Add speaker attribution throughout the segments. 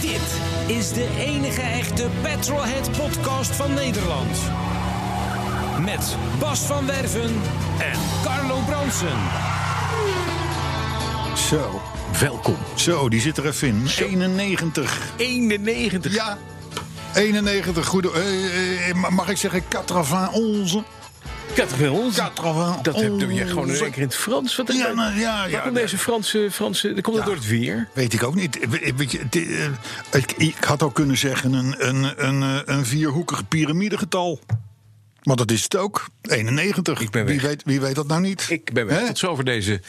Speaker 1: Dit is de enige echte Petrolhead podcast van Nederland. Met Bas van Werven en Carlo Bronsen.
Speaker 2: Zo,
Speaker 3: Welkom.
Speaker 2: zo, die zit er even in. 91.
Speaker 3: 91.
Speaker 2: Ja, 91. Goede, eh, eh, ma- mag ik zeggen, 91?
Speaker 3: Katrons.
Speaker 2: 91.
Speaker 3: Dat heb doe je gewoon in één keer in het Frans. Wat
Speaker 2: Ja, nou, ja,
Speaker 3: Waar
Speaker 2: ja.
Speaker 3: komt deze Franse... Franse komt dat door het weer?
Speaker 2: Weet ik ook niet. Eh, Weet je, het, eh, ik, ik had ook kunnen zeggen een, een, een, eh, een vierhoekig piramidegetal. Want dat is het ook. 91.
Speaker 3: Ik ben
Speaker 2: wie,
Speaker 3: weg.
Speaker 2: weet, wie weet dat nou niet?
Speaker 3: Ik ben weg.
Speaker 2: Hè?
Speaker 3: Tot zover deze,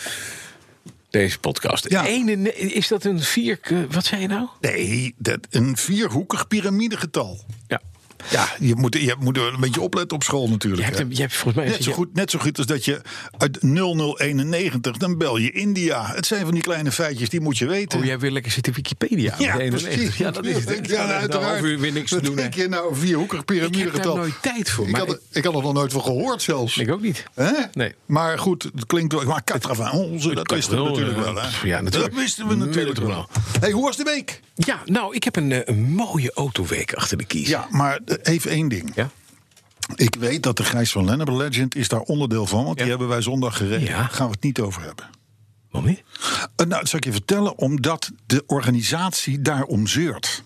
Speaker 3: deze podcast.
Speaker 2: Ja.
Speaker 3: 91 is dat een vier... eh, Wat zei je nou?
Speaker 2: Nee, dat, een vierhoekig piramidegetal.
Speaker 3: Ja.
Speaker 2: Ja, je moet, je moet er een beetje opletten op school natuurlijk.
Speaker 3: Je hebt,
Speaker 2: hè.
Speaker 3: hem- je hebt volgens mij...
Speaker 2: Net zo, goed, net zo goed als dat je uit 0091, dan bel je India. Het zijn van die kleine feitjes, die moet je weten.
Speaker 3: Oh, jij wil lekker zitten Wikipedia.
Speaker 2: Ja,
Speaker 3: met 91.
Speaker 2: precies.
Speaker 3: Ja, dat is het. Ik
Speaker 2: Ja, nou,
Speaker 3: ga daar
Speaker 2: uiteraard.
Speaker 3: een half uur weer niks te
Speaker 2: Wat
Speaker 3: doen.
Speaker 2: denk
Speaker 3: hè.
Speaker 2: je nou, een vierhoekig
Speaker 3: Ik heb
Speaker 2: piramidegetal?
Speaker 3: daar nooit tijd voor.
Speaker 2: Ik
Speaker 3: maar
Speaker 2: had, er- ik had er nog nooit van gehoord zelfs.
Speaker 3: Ik ook niet.
Speaker 2: Hè?
Speaker 3: Nee.
Speaker 2: Maar goed, het klinkt wel. Maar Catrava, onze, dat
Speaker 3: kan
Speaker 2: wisten we
Speaker 3: wel,
Speaker 2: natuurlijk
Speaker 3: eh,
Speaker 2: wel. Hè?
Speaker 3: ja, natuurlijk.
Speaker 2: Dat wisten we natuurlijk
Speaker 3: Middel-
Speaker 2: wel. Hey, hoe was de week?
Speaker 3: Ja, nou, ik heb een, eh, een mooie autoweek achter de kies.
Speaker 2: Ja, maar eh, even één ding.
Speaker 3: Ja?
Speaker 2: Ik weet dat de Gijs van Lennep Legend is daar onderdeel van. Want die hebben wij zondag gereden.
Speaker 3: Ja.
Speaker 2: Daar gaan we het niet over hebben.
Speaker 3: Waarom niet?
Speaker 2: Eh, Nou, dat zal ik je vertellen, omdat de organisatie daarom zeurt.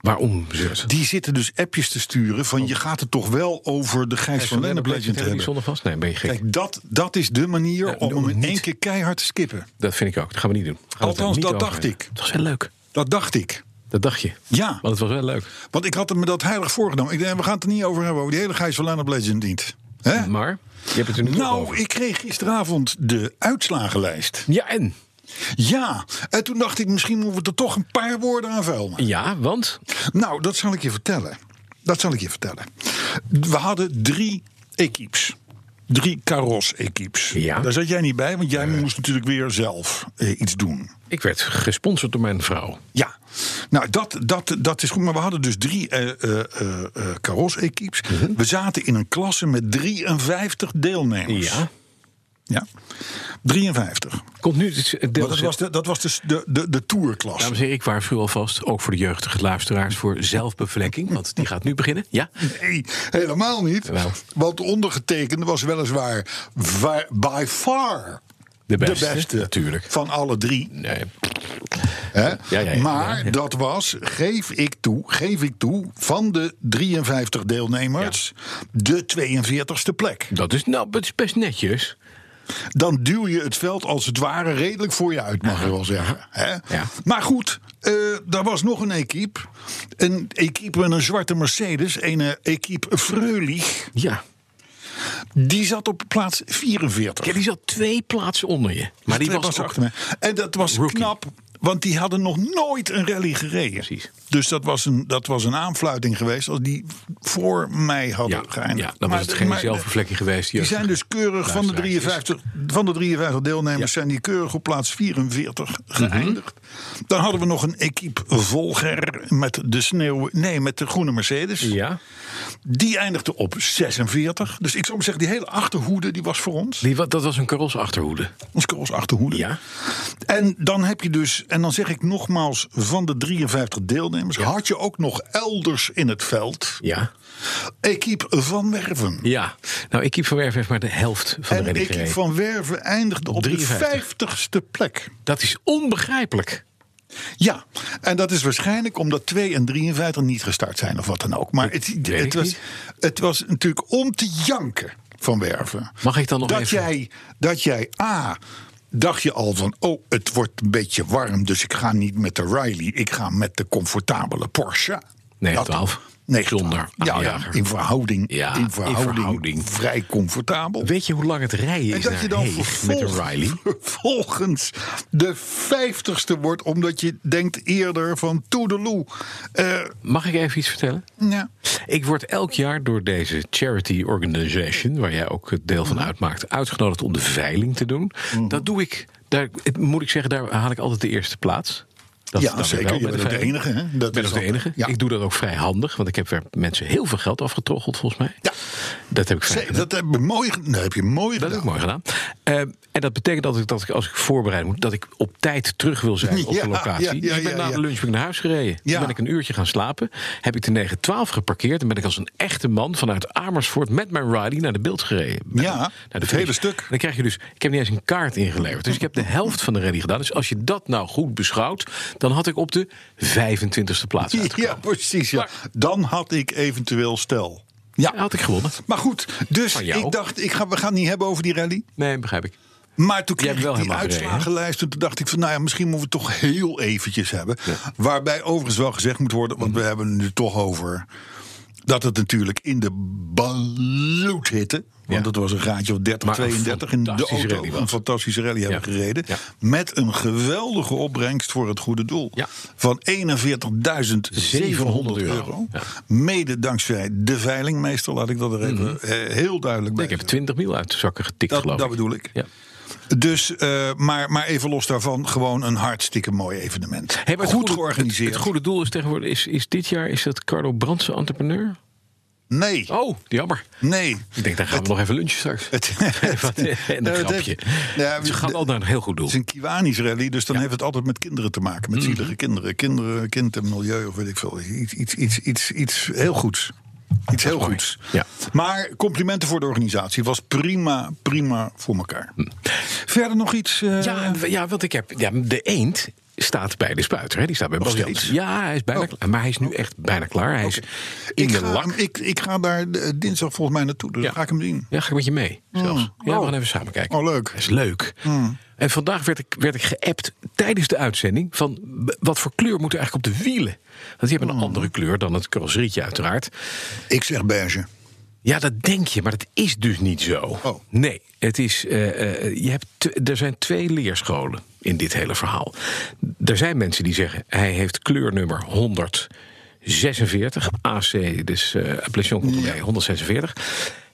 Speaker 3: Waarom, Zeurt?
Speaker 2: Die zitten dus appjes te sturen van je gaat het toch wel over de Gijs van Lennep
Speaker 3: Legend
Speaker 2: Legend
Speaker 3: hebben
Speaker 2: hebben.
Speaker 3: die zondag vast? Nee, ben je gek.
Speaker 2: Kijk, dat, dat is de manier
Speaker 3: Nou,
Speaker 2: om
Speaker 3: doe
Speaker 2: hem
Speaker 3: het
Speaker 2: in één
Speaker 3: niet.
Speaker 2: keer keihard te skippen.
Speaker 3: Dat vind ik ook. Dat gaan we niet doen. We gaan het
Speaker 2: Althans,
Speaker 3: er niet
Speaker 2: dat
Speaker 3: over
Speaker 2: dacht
Speaker 3: hebben.
Speaker 2: ik.
Speaker 3: Het was heel leuk.
Speaker 2: Dat dacht ik.
Speaker 3: Dat dacht je.
Speaker 2: Ja.
Speaker 3: Want het was wel leuk.
Speaker 2: Want ik had me dat heilig voorgenomen. Ik dacht, we gaan het er niet over hebben, over die hele Gijs van Lennep Legend niet. Hè?
Speaker 3: Maar, je hebt het er nu toch
Speaker 2: Nou,
Speaker 3: over.
Speaker 2: ik kreeg gisteravond de uitslagenlijst.
Speaker 3: Ja, en?
Speaker 2: Ja, en toen dacht ik, misschien moeten we er toch een paar woorden aan vuil maken.
Speaker 3: Ja, want?
Speaker 2: Nou, dat zal ik je vertellen. Dat zal ik je vertellen. We hadden drie equipes. Drie carros-equipes.
Speaker 3: Ja. Eh.
Speaker 2: Daar zat jij niet bij, want jij moest natuurlijk weer zelf eh, iets doen.
Speaker 3: Ik werd gesponsord door mijn vrouw.
Speaker 2: Ja, nou dat, dat, dat is goed. Maar we hadden dus drie eh eh eh eh, carros-equipes.
Speaker 3: Mhm.
Speaker 2: We zaten in een klasse met 53 deelnemers.
Speaker 3: Ja.
Speaker 2: Ja. 53.
Speaker 3: Komt nu het het deel...
Speaker 2: Dat was de, dat was de, de, de, de tourklasse.
Speaker 3: Dames en heren, ik waarschuw alvast, ook voor de jeugdige luisteraars, voor zelfbevlekking. Want die gaat nu beginnen. Ja?
Speaker 2: Nee, helemaal niet.
Speaker 3: Wel.
Speaker 2: Want de ondergetekende was weliswaar wa- by far de
Speaker 3: De beste.
Speaker 2: beste,
Speaker 3: Natuurlijk.
Speaker 2: van alle drie.
Speaker 3: Nee.
Speaker 2: Hè?
Speaker 3: ja, ja,
Speaker 2: maar
Speaker 3: ja, ja.
Speaker 2: dat was, geef ik toe, geef ik toe, van de 53 deelnemers de 42ste plek.
Speaker 3: Dat is, nou, het is best netjes.
Speaker 2: Dan duw je het veld als het ware redelijk voor je uit, mag je wel zeggen. Hè?
Speaker 3: Ja.
Speaker 2: Maar goed, eh er was nog een equipe. Een equipe met een zwarte Mercedes, een eh, equipe Freulich.
Speaker 3: Ja.
Speaker 2: Die zat op plaats 44.
Speaker 3: ja. Die zat twee plaatsen onder je. Maar die
Speaker 2: Twee
Speaker 3: was
Speaker 2: plaatsen
Speaker 3: ook...
Speaker 2: achter me. En dat was
Speaker 3: rookie.
Speaker 2: knap, want die hadden nog nooit een rally gereden.
Speaker 3: Precies.
Speaker 2: Dus dat was een, dat was een aanfluiting geweest als die voor mij hadden
Speaker 3: Ja,
Speaker 2: geëindigd.
Speaker 3: ja, dan was het
Speaker 2: de-
Speaker 3: geen zelfvervlekking geweest.
Speaker 2: Die zijn dus keurig van de
Speaker 3: Luisteraars,
Speaker 2: 53, van de 53 deelnemers zijn die keurig op plaats 44 geëindigd.
Speaker 3: Mhm.
Speaker 2: Dan hadden we nog een equipe Volger met de sneeuw, nee, met de groene Mercedes.
Speaker 3: Ja.
Speaker 2: Die eindigde op 46. Dus ik zou maar zeggen, die hele achterhoede die was voor ons.
Speaker 3: Die, wa- dat was een karosachterhoede.
Speaker 2: Ons cross achterhoede.
Speaker 3: Ja.
Speaker 2: En dan heb je dus, en dan zeg ik nogmaals, van de 53 deelnemers had je ook nog elders in het veld.
Speaker 3: Ja.
Speaker 2: Equipe van Werven.
Speaker 3: Ja. Nou, ik van Werven heeft maar de helft van de
Speaker 2: en
Speaker 3: rally
Speaker 2: Equipe
Speaker 3: gereden.
Speaker 2: van Werven eindigde op
Speaker 3: 53.
Speaker 2: de 50ste plek.
Speaker 3: Dat is onbegrijpelijk.
Speaker 2: Ja, en dat is waarschijnlijk omdat 2 en 53 niet gestart zijn of wat dan ook. Maar het, het,
Speaker 3: weet ik
Speaker 2: was,
Speaker 3: niet.
Speaker 2: het was natuurlijk om te janken van Werven.
Speaker 3: Mag ik dan nog
Speaker 2: dat
Speaker 3: even-
Speaker 2: Jij, dat jij, A, dacht je al van... oh, het wordt een beetje warm, dus ik ga niet met de Riley... ik ga met de comfortabele Porsche.
Speaker 3: Nee,
Speaker 2: dat,
Speaker 3: 12.
Speaker 2: 90.
Speaker 3: Zonder
Speaker 2: ja, ja,
Speaker 3: aanjager.
Speaker 2: in verhouding,
Speaker 3: Ja,
Speaker 2: in
Speaker 3: in
Speaker 2: verhouding,
Speaker 3: verhouding.
Speaker 2: vrij comfortabel.
Speaker 3: Weet je hoe lang het rijden
Speaker 2: En
Speaker 3: is
Speaker 2: dat je
Speaker 3: naar
Speaker 2: dan
Speaker 3: Heeg met een
Speaker 2: vervolgens-
Speaker 3: Riley?
Speaker 2: vervolgens de vijftigste wordt, omdat je denkt eerder van toedeloe. Eh
Speaker 3: Mag ik even iets vertellen?
Speaker 2: ja,
Speaker 3: Ik word elk jaar door deze charity organization, waar jij ook het deel
Speaker 2: Mhm.
Speaker 3: van uitmaakt, uitgenodigd om de veiling te doen. Dat doe ik, daar, het- moet ik zeggen, daar haal ik altijd de eerste plaats. Dat
Speaker 2: Ja,
Speaker 3: is dan weer
Speaker 2: zeker.
Speaker 3: wel
Speaker 2: Je
Speaker 3: met
Speaker 2: bent ook de
Speaker 3: veiling.
Speaker 2: enige, hè? Dat
Speaker 3: Ik ben
Speaker 2: is
Speaker 3: ook de
Speaker 2: altijd-
Speaker 3: enige.
Speaker 2: ja.
Speaker 3: Ik doe dat ook vrij handig, want ik heb er mensen heel veel geld afgetroggeld, volgens mij.
Speaker 2: Ja.
Speaker 3: Dat heb ik vrij
Speaker 2: Zee, dat heb je mooi, ge- nee, heb je mooi
Speaker 3: dat is
Speaker 2: gedaan.
Speaker 3: ook mooi gedaan. Ehm, en dat betekent dat ik, dat ik, als ik voorbereid moet, dat ik op tijd terug wil zijn op
Speaker 2: Ja,
Speaker 3: de locatie.
Speaker 2: ja, ja,
Speaker 3: dus ik ben
Speaker 2: ja,
Speaker 3: na
Speaker 2: ja.
Speaker 3: de lunch ben ik naar huis gereden.
Speaker 2: Ja.
Speaker 3: Toen ben ik een uurtje gaan slapen. Heb ik de 912 geparkeerd. En ben ik als een echte man vanuit Amersfoort met mijn Riley naar de beeld gereden. Met-
Speaker 2: Ja, het
Speaker 3: finish.
Speaker 2: hele stuk.
Speaker 3: En dan krijg je dus, ik heb niet eens een kaart ingeleverd. Dus ik heb de helft van de rally gedaan. Dus als je dat nou goed beschouwt, dan had ik op de 25e plaats
Speaker 2: Ja,
Speaker 3: uitgekomen.
Speaker 2: precies. Ja. Dan had ik eventueel stel. Ja,
Speaker 3: Had ik gewonnen.
Speaker 2: maar goed. Dus
Speaker 3: Van jou.
Speaker 2: ik dacht, ik ga, we gaan het niet hebben over die rally.
Speaker 3: Nee, begrijp ik.
Speaker 2: Maar toen
Speaker 3: Jij
Speaker 2: kreeg
Speaker 3: hebt wel
Speaker 2: ik die
Speaker 3: helemaal gereden, hè?
Speaker 2: uitslagenlijst. En toen dacht ik van, nou ja, misschien moeten we het toch heel eventjes hebben. Waarbij overigens wel gezegd moet worden, want we
Speaker 3: Mhm.
Speaker 2: hebben het nu toch over... dat het natuurlijk in de bloed hitte. Want
Speaker 3: Ja.
Speaker 2: het was een gaatje of 30,
Speaker 3: Maar een
Speaker 2: 32 in de
Speaker 3: fantastische
Speaker 2: auto.
Speaker 3: rally was.
Speaker 2: Een fantastische rally hebben
Speaker 3: Ja.
Speaker 2: gereden.
Speaker 3: Ja.
Speaker 2: Met een geweldige opbrengst voor het goede doel.
Speaker 3: Ja.
Speaker 2: Van 41.700
Speaker 3: euro.
Speaker 2: euro.
Speaker 3: Ja.
Speaker 2: Mede dankzij de veilingmeester, laat ik dat er even eh, heel duidelijk bij
Speaker 3: Mhm. Ik heb
Speaker 2: zeggen.
Speaker 3: 20 mil uit de zakken getikt,
Speaker 2: Dat,
Speaker 3: geloof
Speaker 2: dat
Speaker 3: ik.
Speaker 2: bedoel ik.
Speaker 3: Ja.
Speaker 2: Dus, eh, maar, maar even los daarvan, gewoon een hartstikke mooi evenement.
Speaker 3: Hey, maar
Speaker 2: Goed
Speaker 3: het goede-
Speaker 2: georganiseerd.
Speaker 3: Het, het goede doel is tegenwoordig, is, is dit jaar, is dat Carlo Brandsen entrepreneur?
Speaker 2: Nee,
Speaker 3: Oh, jammer.
Speaker 2: nee.
Speaker 3: Ik denk, daar gaan we nog even lunchen straks.
Speaker 2: Het,
Speaker 3: Wat- en
Speaker 2: Eh,
Speaker 3: een
Speaker 2: het-
Speaker 3: grapje.
Speaker 2: ja,
Speaker 3: Ze gaan
Speaker 2: de-
Speaker 3: wel naar een heel goed doel.
Speaker 2: Het is een Kiwanis rally, dus dan heeft het altijd met kinderen te maken.
Speaker 3: Mhm.
Speaker 2: Met zielige kinderen. Kinderen, kind en milieu of weet ik veel. Iets, iets, iets, iets, iets heel goeds. Iets heel
Speaker 3: mooi.
Speaker 2: goeds.
Speaker 3: Ja.
Speaker 2: Maar complimenten voor de organisatie. Was prima, prima voor elkaar. Verder nog iets? eh,
Speaker 3: Hm. Ja, w- ja, want ik heb ja, de eend staat bij de spuiter. Hè? Die staat bij Bas
Speaker 2: steeds?
Speaker 3: Jansen. Ja, hij is bijna
Speaker 2: Oh.
Speaker 3: klaar. Maar hij is nu echt bijna klaar. Hij is in
Speaker 2: ik,
Speaker 3: de
Speaker 2: ga,
Speaker 3: lak.
Speaker 2: hem- ik, ik ga daar eh, dinsdag volgens mij naartoe. Dus
Speaker 3: Ja.
Speaker 2: ga ik hem zien.
Speaker 3: Ja, ga ik met je mee zelfs. Ja, we gaan even samen kijken.
Speaker 2: Mm. Oh, leuk. Mm.
Speaker 3: Dat is leuk. En vandaag werd ik, werd ik geappt tijdens de uitzending van b- wat voor kleur moet er eigenlijk op de wielen? Want die hebben
Speaker 2: Mm.
Speaker 3: een andere kleur dan het carrosserietje uiteraard.
Speaker 2: Ik zeg beige.
Speaker 3: Ja, dat denk je, maar dat is dus niet zo.
Speaker 2: Oh.
Speaker 3: Nee, het is, eh, eh, je hebt tw- er zijn twee leerscholen in dit hele verhaal. Er zijn mensen die zeggen, hij heeft kleurnummer 146, AC, dus eh appellation contrôlée 146.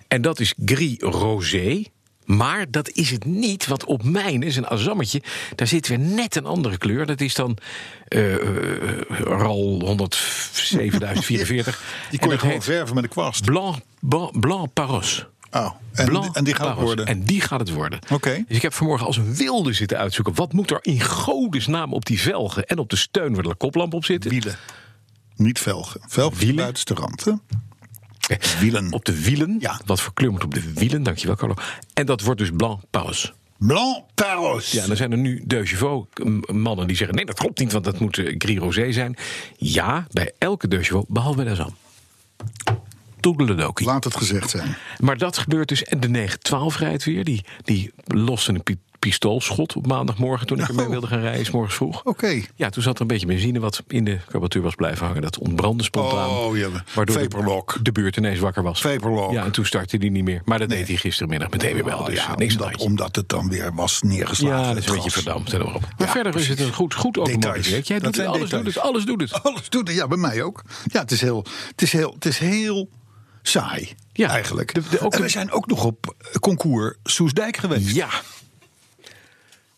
Speaker 3: En dat is gris rosé. Maar dat is het niet, want op mijn is een azammetje. Daar zit weer net een andere kleur. Dat is dan eh eh, RAL 107044.
Speaker 2: Die kon je
Speaker 3: En dat
Speaker 2: gewoon
Speaker 3: heet-
Speaker 2: verven met een kwast.
Speaker 3: Blanc, blanc, blanc Paros.
Speaker 2: Oh, en,
Speaker 3: Blanc
Speaker 2: en die gaat het
Speaker 3: Paros.
Speaker 2: worden.
Speaker 3: En die gaat het worden.
Speaker 2: Oké.
Speaker 3: Dus ik heb vanmorgen als een wilde zitten uitzoeken. Wat moet er in godesnaam op die velgen en op de steun waar de koplamp op zitten?
Speaker 2: Wielen. Niet velgen. Velgen is de
Speaker 3: Wielen? Eh,
Speaker 2: buitenste rand. hè? Wielen.
Speaker 3: Op de wielen.
Speaker 2: Ja.
Speaker 3: Wat voor kleur moet op de wielen? Dankjewel, Carlo. En dat wordt dus Blanc Paros.
Speaker 2: Blanc Paros.
Speaker 3: Ja, en dan zijn er nu de Chevaux mannen die zeggen... nee, dat klopt niet, want dat moet eh, Gris Rosé zijn. Ja, bij elke de Chevaux, behalve bij de Zam. Toedeledokie.
Speaker 2: Laat het gezegd zijn.
Speaker 3: Maar dat gebeurt dus. En de 912 rijdt weer. Die, die loste een pi- pistoolschot op maandagmorgen. toen ik ermee
Speaker 2: Oh.
Speaker 3: wilde gaan rijden, 's morgens vroeg.
Speaker 2: Oké.
Speaker 3: Ja, toen zat er een beetje benzine wat in de carburateur was blijven hangen. Dat ontbrandde spontaan.
Speaker 2: Oh, jelle.
Speaker 3: Waardoor de,
Speaker 2: Vaporlock.
Speaker 3: de buurt ineens wakker was.
Speaker 2: Vaporlock.
Speaker 3: Ja, en toen startte die niet meer. Maar dat deed hij gistermiddag meteen weer wel.
Speaker 2: Oh,
Speaker 3: Dus
Speaker 2: ja,
Speaker 3: niks aan
Speaker 2: omdat,
Speaker 3: het handje.
Speaker 2: omdat het dan weer was neergeslagen.
Speaker 3: Ja, dat is een
Speaker 2: het
Speaker 3: beetje
Speaker 2: gas.
Speaker 3: verdampt. en erop. Maar
Speaker 2: Ja,
Speaker 3: verder is het
Speaker 2: precies.
Speaker 3: een goed, goed automobiel.
Speaker 2: Details.
Speaker 3: Jij doet
Speaker 2: Dat
Speaker 3: het,
Speaker 2: zijn
Speaker 3: alles doet
Speaker 2: details. Oh.
Speaker 3: het, alles doet het.
Speaker 2: Alles doet het. Ja, bij mij ook. Ja, het is heel, het is heel, het is heel saai.
Speaker 3: Ja.
Speaker 2: Eigenlijk.
Speaker 3: De- de- ook
Speaker 2: en we
Speaker 3: de-
Speaker 2: zijn ook nog op concours Soesdijk geweest.
Speaker 3: Ja,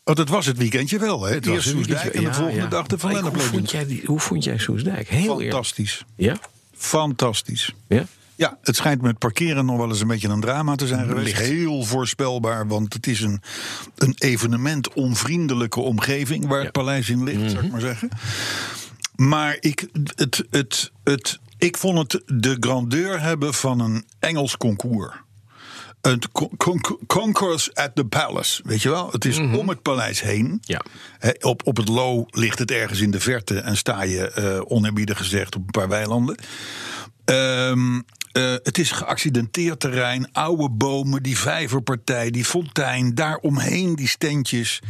Speaker 2: Want het was het weekendje wel. Hè? Het
Speaker 3: was
Speaker 2: Eerst
Speaker 3: een
Speaker 2: Soesdijk
Speaker 3: weekendje-
Speaker 2: en de
Speaker 3: ja,
Speaker 2: volgende
Speaker 3: ja.
Speaker 2: dag de Van
Speaker 3: Maar ik- Hoe
Speaker 2: Lenneplein.
Speaker 3: vond jij die- Hoe vond jij Soesdijk? Heel eerlijk.
Speaker 2: Fantastisch.
Speaker 3: Ja?
Speaker 2: Fantastisch.
Speaker 3: Ja?
Speaker 2: Ja, het schijnt met parkeren nog wel eens een beetje een drama te zijn geweest.
Speaker 3: Licht.
Speaker 2: Heel voorspelbaar, want het is een, een evenement onvriendelijke omgeving waar het paleis in ligt, zou ik maar zeggen. Maar ik, het, het, het, ik vond het de grandeur hebben van een Engels concours. Het con- con- Concourse at the Palace, weet je wel? Het is om het paleis heen.
Speaker 3: Ja.
Speaker 2: Hè, op, op het low ligt het ergens in de verte en sta je, eh oneerbiedig gezegd, op een paar weilanden. Ehm, eh, het is geaccidenteerd terrein, oude bomen, die vijverpartij, die fontein, daaromheen die steentjes.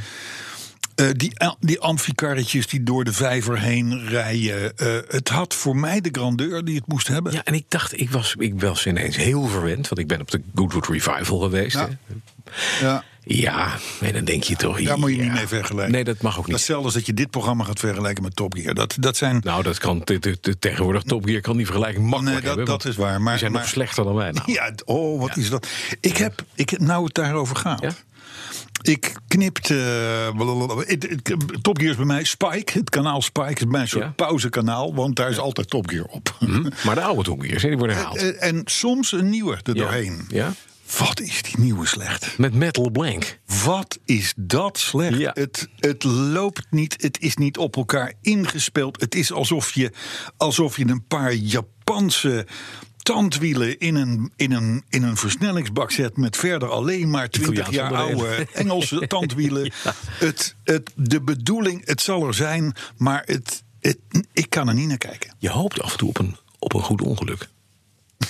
Speaker 2: Eh, die, a- die amfikarretjes die door de vijver heen rijden. eh, het had voor mij de grandeur die het moest hebben.
Speaker 3: Ja, en ik dacht, ik was, ik was ineens heel verwend, want ik ben op de Goodwood Revival geweest.
Speaker 2: Ja.
Speaker 3: hè.
Speaker 2: Ja.
Speaker 3: Ja, en dan denk je toch...
Speaker 2: Daar moet je
Speaker 3: ja.
Speaker 2: niet mee vergelijken.
Speaker 3: Nee, dat mag ook niet.
Speaker 2: Hetzelfde als dat je dit programma gaat vergelijken met Top Gear. Dat, dat zijn.
Speaker 3: Nou, dat kan de, de, de- tegenwoordig Top Gear kan die vergelijking makkelijk
Speaker 2: Nee, dat-
Speaker 3: hebben.
Speaker 2: dat
Speaker 3: want
Speaker 2: is waar, maar-
Speaker 3: die zijn nog
Speaker 2: maar-
Speaker 3: slechter dan wij. Nou.
Speaker 2: Ja, d- oh, wat is dat? Ik heb, ik heb, nou het daarover gaat.
Speaker 3: Ja?
Speaker 2: Ik knipte. eh, blablabla. Het- het- Top Gear is bij mij Spike. Het kanaal Spike is bij mij een soort
Speaker 3: Ja. Mhm.
Speaker 2: pauzekanaal, want daar is altijd Top Gear op.
Speaker 3: Maar de oude Top Gears, hè, die worden herhaald.
Speaker 2: Eh, En soms een nieuwe er
Speaker 3: Ja.
Speaker 2: doorheen.
Speaker 3: Ja?
Speaker 2: Wat is die nieuwe slecht?
Speaker 3: Met Metal Blank.
Speaker 2: Wat is dat slecht?
Speaker 3: Ja.
Speaker 2: Het, het loopt niet, het is niet op elkaar ingespeeld. Het is alsof je, alsof je een paar Japanse tandwielen in een, in, een, in een versnellingsbak zet... met verder alleen maar 20 jaar
Speaker 3: Italiaanse
Speaker 2: oude
Speaker 3: onderdelen.
Speaker 2: Engelse tandwielen. Het, het, de bedoeling, het zal er zijn, maar het, het, ik kan er niet naar kijken.
Speaker 3: Je hoopt af en toe op een, op een goed ongeluk.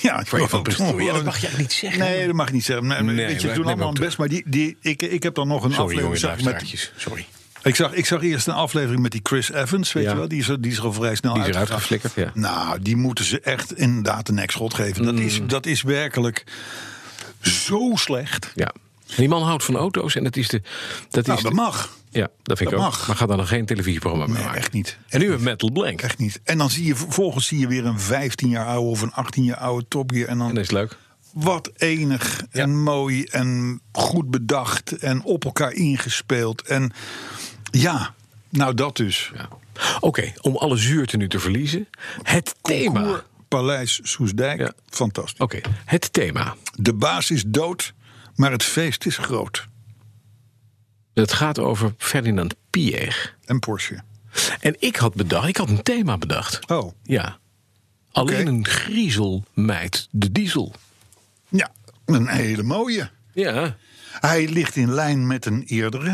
Speaker 2: Ja, ik
Speaker 3: Waar je van
Speaker 2: ook.
Speaker 3: presteert. Ja, dat mag je eigenlijk niet zeggen.
Speaker 2: Nee, dat mag je niet zeggen. Nee, maar
Speaker 3: Nee,
Speaker 2: weet je,
Speaker 3: maar-
Speaker 2: we doen
Speaker 3: nee,
Speaker 2: allemaal
Speaker 3: maar-
Speaker 2: het best. Maar die, die, ik, ik heb dan nog een
Speaker 3: Sorry,
Speaker 2: aflevering.
Speaker 3: jongen,
Speaker 2: zag ik met-
Speaker 3: luisteraartjes. Sorry.
Speaker 2: ik, zag, ik zag eerst een aflevering met die Chris Evans, weet
Speaker 3: Ja.
Speaker 2: je wel. Die is, er- die is er al vrij snel
Speaker 3: Die is eruit
Speaker 2: uitgegaan.
Speaker 3: geflikkerd,
Speaker 2: Nou, die moeten ze echt inderdaad een nekschot geven. Dat, is,
Speaker 3: Mm.
Speaker 2: dat is werkelijk zo slecht.
Speaker 3: Ja. En die man houdt van auto's en dat is de... Dat
Speaker 2: Nou,
Speaker 3: is
Speaker 2: dat
Speaker 3: de-
Speaker 2: mag.
Speaker 3: Ja, dat vind
Speaker 2: dat
Speaker 3: ik ook.
Speaker 2: mag.
Speaker 3: Maar ga daar nog geen televisieprogramma mee
Speaker 2: Nee,
Speaker 3: maken.
Speaker 2: echt niet.
Speaker 3: En nu met Metal Blank.
Speaker 2: Echt niet. En dan zie je vervolgens zie je weer een 15 jaar oude of een 18 jaar oude Top Gear. En dan
Speaker 3: En dat is leuk.
Speaker 2: Wat enig en mooi en goed bedacht en op elkaar ingespeeld. En ja, nou dat dus.
Speaker 3: Ja. Oké, om alle zuurte nu te verliezen. Het thema.
Speaker 2: Concours
Speaker 3: Oké,
Speaker 2: Paleis Soesdijk,
Speaker 3: Ja.
Speaker 2: fantastisch.
Speaker 3: het thema.
Speaker 2: De baas is dood, maar het feest is groot.
Speaker 3: Het gaat over Ferdinand Piëch.
Speaker 2: En Porsche.
Speaker 3: En ik had bedacht, ik had een thema bedacht.
Speaker 2: Oh,
Speaker 3: Ja. Alleen
Speaker 2: Oké.
Speaker 3: een griezel mijt de diesel.
Speaker 2: ja, een hele mooie.
Speaker 3: Ja.
Speaker 2: Hij ligt in lijn met een eerdere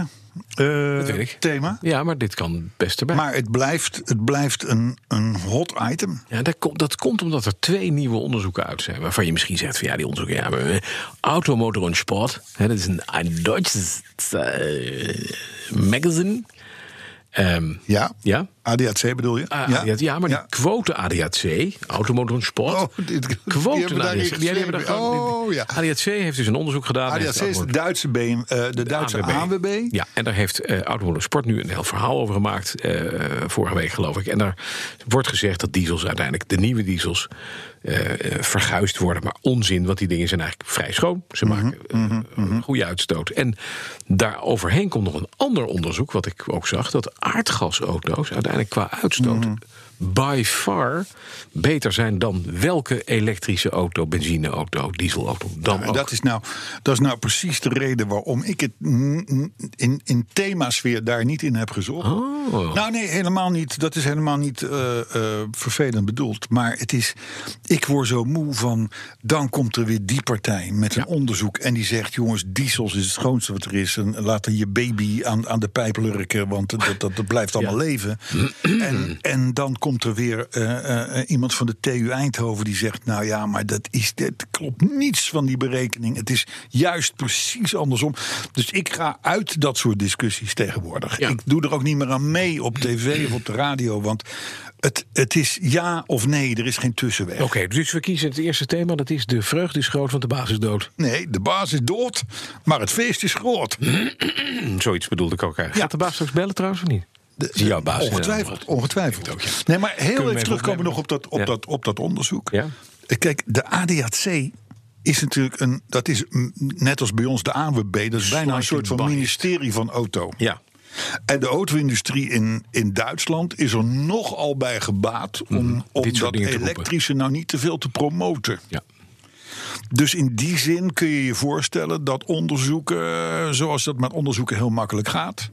Speaker 2: eh,
Speaker 3: weet ik.
Speaker 2: thema.
Speaker 3: Ja, maar dit kan best erbij.
Speaker 2: Maar het blijft, het blijft een, een hot item.
Speaker 3: Ja, dat, komt, dat komt omdat er twee nieuwe onderzoeken uit zijn. Waarvan je misschien zegt van ja, die onderzoeken. Ja, maar, eh, Automotor en Sport. Hè, dat is een, een Duits eh, magazine. Ehm,
Speaker 2: Ja,
Speaker 3: ja.
Speaker 2: ADAC bedoel je?
Speaker 3: Ah, ADAC, ja, maar die quote ADAC, Automotor en Sport.
Speaker 2: Oh, dit- die
Speaker 3: quote
Speaker 2: hebben daar
Speaker 3: ADAC.
Speaker 2: niet
Speaker 3: die hebben daar
Speaker 2: geschreven.
Speaker 3: gewoon-
Speaker 2: Oh, ja.
Speaker 3: ADAC heeft dus een onderzoek gedaan.
Speaker 2: ADAC
Speaker 3: heeft
Speaker 2: is de
Speaker 3: Automotor-
Speaker 2: Duitse, been, eh, de Duitse AWB.
Speaker 3: Ja, en daar heeft eh Automotor Sport nu een heel verhaal over gemaakt. eh, vorige week, geloof ik. En daar wordt gezegd dat diesels uiteindelijk, de nieuwe diesels, eh, eh, verguisd worden. Maar onzin, want die dingen zijn eigenlijk vrij schoon. Ze
Speaker 2: Mhm,
Speaker 3: maken eh, een goede uitstoot. En daar overheen komt nog een ander onderzoek, wat ik ook zag. Dat aardgasauto's uiteindelijk qua uitstoot.
Speaker 2: Mhm.
Speaker 3: By far beter zijn dan welke elektrische auto, benzineauto, dieselauto dan
Speaker 2: En
Speaker 3: ook.
Speaker 2: dat is, nou, dat is nou precies de reden waarom ik het n- n- in, in themasfeer daar niet in heb gezocht.
Speaker 3: Oh.
Speaker 2: Nou nee, helemaal niet. Dat is helemaal niet eh, eh, vervelend bedoeld. Maar het is, ik word zo moe van, dan komt er weer die partij met een onderzoek. En die zegt, jongens, diesels is het schoonste wat er is. En laat dan je baby aan, aan de pijp lurken, want dat, dat, dat blijft allemaal leven. En, en dan komt er weer eh, eh, iemand van de TU Eindhoven die zegt, nou ja, maar dat, is, dat klopt niets van die berekening. Het is juist precies andersom. Dus ik ga uit dat soort discussies tegenwoordig.
Speaker 3: Ja.
Speaker 2: Ik doe er ook niet meer aan mee op tv of op de radio, want het, het is ja of nee, er is geen tussenweg.
Speaker 3: Oké, dus we kiezen het eerste thema. Dat is de vreugde is groot, want de baas is dood.
Speaker 2: Nee, de baas is dood, maar het feest is groot.
Speaker 3: Mm, Zoiets bedoelde ik ook eigenlijk. Gaat de baas straks bellen trouwens of niet? Dat is jouw baas.
Speaker 2: Ongetwijfeld,
Speaker 3: Ja.
Speaker 2: ongetwijfeld.
Speaker 3: Ik denk het ook,
Speaker 2: Nee, maar
Speaker 3: we
Speaker 2: heel even
Speaker 3: even
Speaker 2: terugkomen
Speaker 3: opnemen?
Speaker 2: nog op dat, op
Speaker 3: Ja.
Speaker 2: dat, op dat onderzoek.
Speaker 3: Ja.
Speaker 2: Eh, Kijk, de ADAC is natuurlijk een, dat is mm, net als bij ons de ANWB, dat is bijna een
Speaker 3: Slightly
Speaker 2: soort van
Speaker 3: biased.
Speaker 2: ministerie van auto.
Speaker 3: Ja.
Speaker 2: En de auto-industrie in, in Duitsland is er nogal bij gebaat om, om
Speaker 3: Mhm. dit soort
Speaker 2: dat
Speaker 3: dingen te roepen.
Speaker 2: elektrische nou niet te veel te promoten.
Speaker 3: ja.
Speaker 2: Dus in die zin kun je je voorstellen dat onderzoeken, eh, zoals dat met onderzoeken heel makkelijk gaat,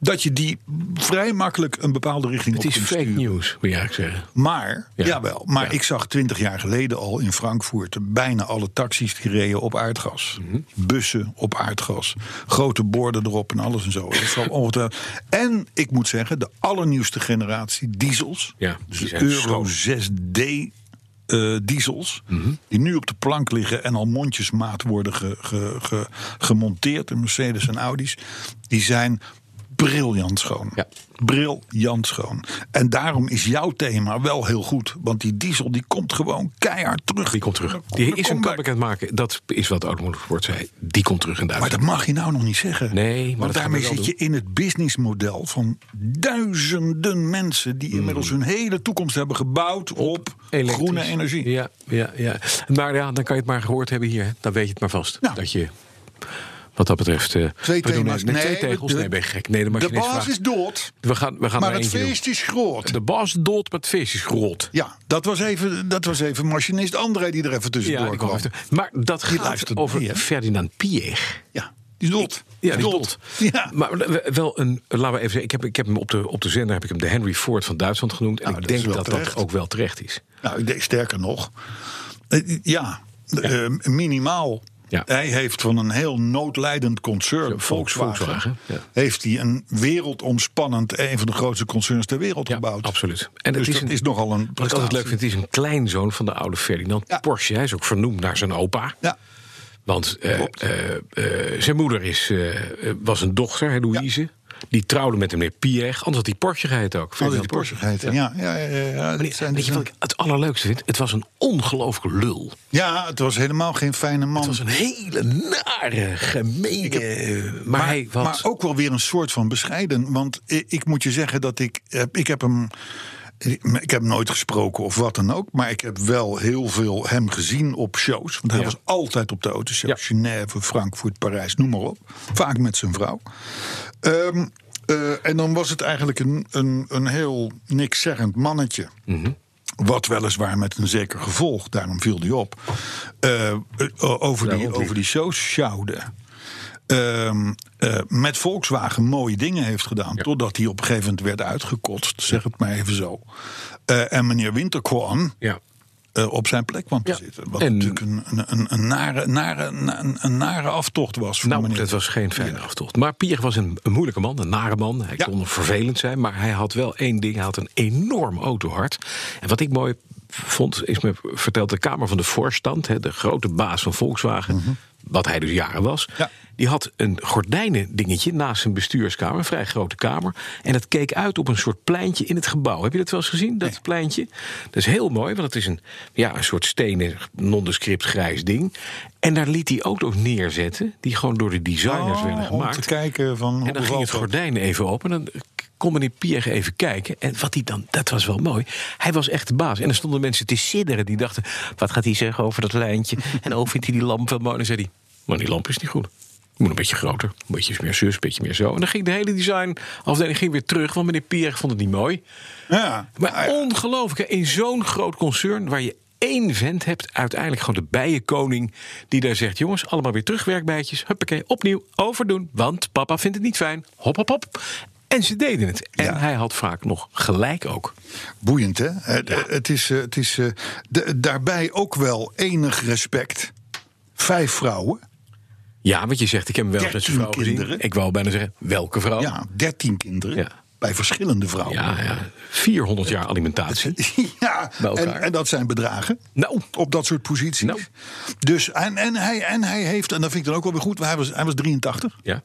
Speaker 2: dat je die vrij makkelijk een bepaalde richting
Speaker 3: Het
Speaker 2: op
Speaker 3: is
Speaker 2: kunt
Speaker 3: fake
Speaker 2: sturen.
Speaker 3: news, wil je eigenlijk zeggen.
Speaker 2: Maar,
Speaker 3: Ja.
Speaker 2: jawel, maar
Speaker 3: Ja.
Speaker 2: ik zag twintig jaar geleden al in Frankfurt bijna alle taxis die reden op aardgas.
Speaker 3: Mhm.
Speaker 2: Bussen op aardgas. Grote borden erop en alles en zo. Dat zal ongetwijfeld. En ik moet zeggen, de allernieuwste generatie diesels.
Speaker 3: Ja,
Speaker 2: dus
Speaker 3: die
Speaker 2: de
Speaker 3: zijn
Speaker 2: Euro
Speaker 3: schoon.
Speaker 2: 6D eh, diesels.
Speaker 3: Mhm.
Speaker 2: Die nu op de plank liggen en al mondjesmaat worden ge- ge- ge- gemonteerd in Mercedes en Audi's. Die zijn briljant schoon.
Speaker 3: Ja.
Speaker 2: Briljant schoon. En daarom is jouw thema wel heel goed. Want die diesel die komt gewoon keihard terug.
Speaker 3: Die komt terug. Die is een
Speaker 2: comeback.
Speaker 3: comeback aan het maken. Dat is wat Oudmoedig wordt zei. Die komt terug in
Speaker 2: Maar dat
Speaker 3: Duitsland.
Speaker 2: mag je nou nog niet zeggen.
Speaker 3: Nee, maar
Speaker 2: Want
Speaker 3: dat gaan we
Speaker 2: daarmee
Speaker 3: wel
Speaker 2: zit je in het businessmodel van duizenden mensen die inmiddels hun hele toekomst hebben gebouwd op
Speaker 3: Mm. Elektrisch.
Speaker 2: groene energie.
Speaker 3: Ja, ja, ja. Maar ja, dan kan je het maar gehoord hebben hier. hè. Dan weet je het maar vast.
Speaker 2: Ja.
Speaker 3: Dat je, wat dat betreft... eh,
Speaker 2: Twee
Speaker 3: we doen
Speaker 2: thema's.
Speaker 3: net twee
Speaker 2: Nee,
Speaker 3: tegels.
Speaker 2: de-
Speaker 3: Nee, ben je gek. Nee, de
Speaker 2: De
Speaker 3: machinist
Speaker 2: baas
Speaker 3: vraagt-
Speaker 2: is dood,
Speaker 3: We gaan, we gaan
Speaker 2: maar
Speaker 3: er
Speaker 2: het
Speaker 3: eentje doen.
Speaker 2: feest is groot.
Speaker 3: De baas dood, maar het feest is groot.
Speaker 2: Ja, dat was, even, dat was even machinist André die er even tussendoor
Speaker 3: die kwam
Speaker 2: kwam.
Speaker 3: even- Maar dat gaat
Speaker 2: luistert
Speaker 3: over
Speaker 2: mee, hè?
Speaker 3: Ferdinand Piech.
Speaker 2: Ja, die is dood.
Speaker 3: Ja, die
Speaker 2: dood.
Speaker 3: dood.
Speaker 2: Ja.
Speaker 3: Maar we- wel een, laten we even zeggen, ik heb, ik heb hem op de, op de zender heb ik hem de Henry Ford van Duitsland genoemd. En
Speaker 2: Nou,
Speaker 3: ik
Speaker 2: dat is
Speaker 3: denk
Speaker 2: wel
Speaker 3: dat
Speaker 2: terecht.
Speaker 3: dat ook wel terecht is.
Speaker 2: Nou, ik denk sterker nog. eh, Ja, eh, minimaal.
Speaker 3: Ja.
Speaker 2: Hij heeft van een heel noodlijdend concern,
Speaker 3: Ja,
Speaker 2: Volkswagen,
Speaker 3: Volkswagen, ja.
Speaker 2: heeft hij een wereldomspannend, een van de grootste concerns ter wereld gebouwd.
Speaker 3: absoluut. En
Speaker 2: Dus dat is nogal een
Speaker 3: Wat ik altijd leuk
Speaker 2: prestatie.
Speaker 3: vind, het is een kleinzoon van de oude Ferdinand
Speaker 2: Ja.
Speaker 3: Porsche. Hij is ook vernoemd naar zijn opa.
Speaker 2: Ja,
Speaker 3: Want eh, eh, eh, zijn moeder is, eh, eh, was een dochter, hè, Louise. Die trouwde met meneer Piech. Anders had hij Porsche geheten ook.
Speaker 2: dat is
Speaker 3: Ferdinand
Speaker 2: die Porsche geheten. Ja, ja, ja, ja, ja, dat
Speaker 3: Maar die-
Speaker 2: zijn
Speaker 3: weet je
Speaker 2: dus
Speaker 3: wat ik het allerleukste vind? Het was een ongelooflijke lul.
Speaker 2: een- ja, het was helemaal geen fijne man.
Speaker 3: Het was een hele nare, gemene... maar, hij was...
Speaker 2: Maar ook wel weer een soort van bescheiden. Want i- ik moet je zeggen dat ik. heb- Ik heb hem. Ik heb hem nooit gesproken of wat dan ook. Maar ik heb wel heel veel hem gezien op shows. Want hij
Speaker 3: Ja.
Speaker 2: was altijd op de autoshow.
Speaker 3: Ja.
Speaker 2: Genève, Frankfurt, Parijs, noem maar op. Vaak met zijn vrouw. Ehm, eh, en dan was het eigenlijk een, een, een heel nikszeggend mannetje.
Speaker 3: Mhm.
Speaker 2: Wat weliswaar met een zeker gevolg, daarom viel die op. eh, eh, over, die, over die shows sjouwde ehm, eh, met Volkswagen mooie dingen heeft gedaan. Totdat hij op een gegeven moment werd uitgekotst, zeg het maar even zo. Eh, en meneer Winterkorn
Speaker 3: ja.
Speaker 2: eh, op zijn plek kwam te
Speaker 3: Ja.
Speaker 2: zitten. Wat
Speaker 3: En-
Speaker 2: natuurlijk een, een, een, een nare, nare, na- een, een nare aftocht was. Voor
Speaker 3: Nou,
Speaker 2: meneer.
Speaker 3: dat was geen fijne aftocht. Maar Pier was een, een moeilijke man, een nare man. Hij
Speaker 2: Ja.
Speaker 3: kon vervelend zijn, maar hij had wel één ding. Hij had een enorm autohart. En wat ik mooi vond, is me verteld de Kamer van de Voorstand... Hè, de grote baas van Volkswagen,
Speaker 2: Mhm.
Speaker 3: wat hij dus jaren was...
Speaker 2: Ja.
Speaker 3: die had een gordijnen dingetje naast zijn bestuurskamer. Een vrij grote kamer. En dat keek uit op een soort pleintje in het gebouw. Heb je dat wel eens gezien, dat pleintje? Dat is heel mooi, want het is een, ja, een soort stenen, nondescript grijs ding. En daar liet hij auto's neerzetten... die gewoon door de designers werden
Speaker 2: Oh, om
Speaker 3: gemaakt.
Speaker 2: te kijken van hoe
Speaker 3: En dan ging
Speaker 2: bevalt
Speaker 3: het
Speaker 2: dat.
Speaker 3: gordijn even open. En dan kon meneer Pier even kijken. En wat hij dan, dat was wel mooi. Hij was echt de baas. En er stonden mensen te sidderen. Die dachten: wat gaat hij zeggen over dat lijntje? en oh, vindt hij die lamp wel mooi? En dan zei hij: maar die lamp is niet goed. Die Moet een beetje groter, een beetje meer zus, een beetje meer zo. En dan ging de hele designafdeling ging weer terug, want meneer Pier vond het niet mooi.
Speaker 2: Ja,
Speaker 3: Maar
Speaker 2: ja.
Speaker 3: ongelooflijk, hè, in zo'n groot concern waar je één vent hebt, uiteindelijk gewoon de bijenkoning, die daar zegt: jongens, allemaal weer terug, werkbijtjes, huppakee, opnieuw, overdoen, want papa vindt het niet fijn. Hop, hop, hop. En ze deden het. En
Speaker 2: Ja.
Speaker 3: hij had vaak nog gelijk ook.
Speaker 2: Boeiend, hè? Het, het is, eh, het is eh, de- daarbij ook wel enig respect. Vijf vrouwen.
Speaker 3: Ja, want je zegt: ik heb hem wel eens met zijn vrouw
Speaker 2: 13
Speaker 3: gezien.
Speaker 2: kinderen.
Speaker 3: Ik wou bijna zeggen: welke vrouw?
Speaker 2: Ja, dertien kinderen.
Speaker 3: Oh. Ja.
Speaker 2: Bij verschillende vrouwen.
Speaker 3: ja, ja. 400 jaar alimentatie.
Speaker 2: Ja,
Speaker 3: Bij elkaar.
Speaker 2: en, en dat zijn bedragen.
Speaker 3: Nou.
Speaker 2: Op dat soort posities.
Speaker 3: Nou.
Speaker 2: Dus, en, en, hij, en hij heeft, en dat vind ik dan ook wel weer goed, want hij was, hij was 83.
Speaker 3: Ja.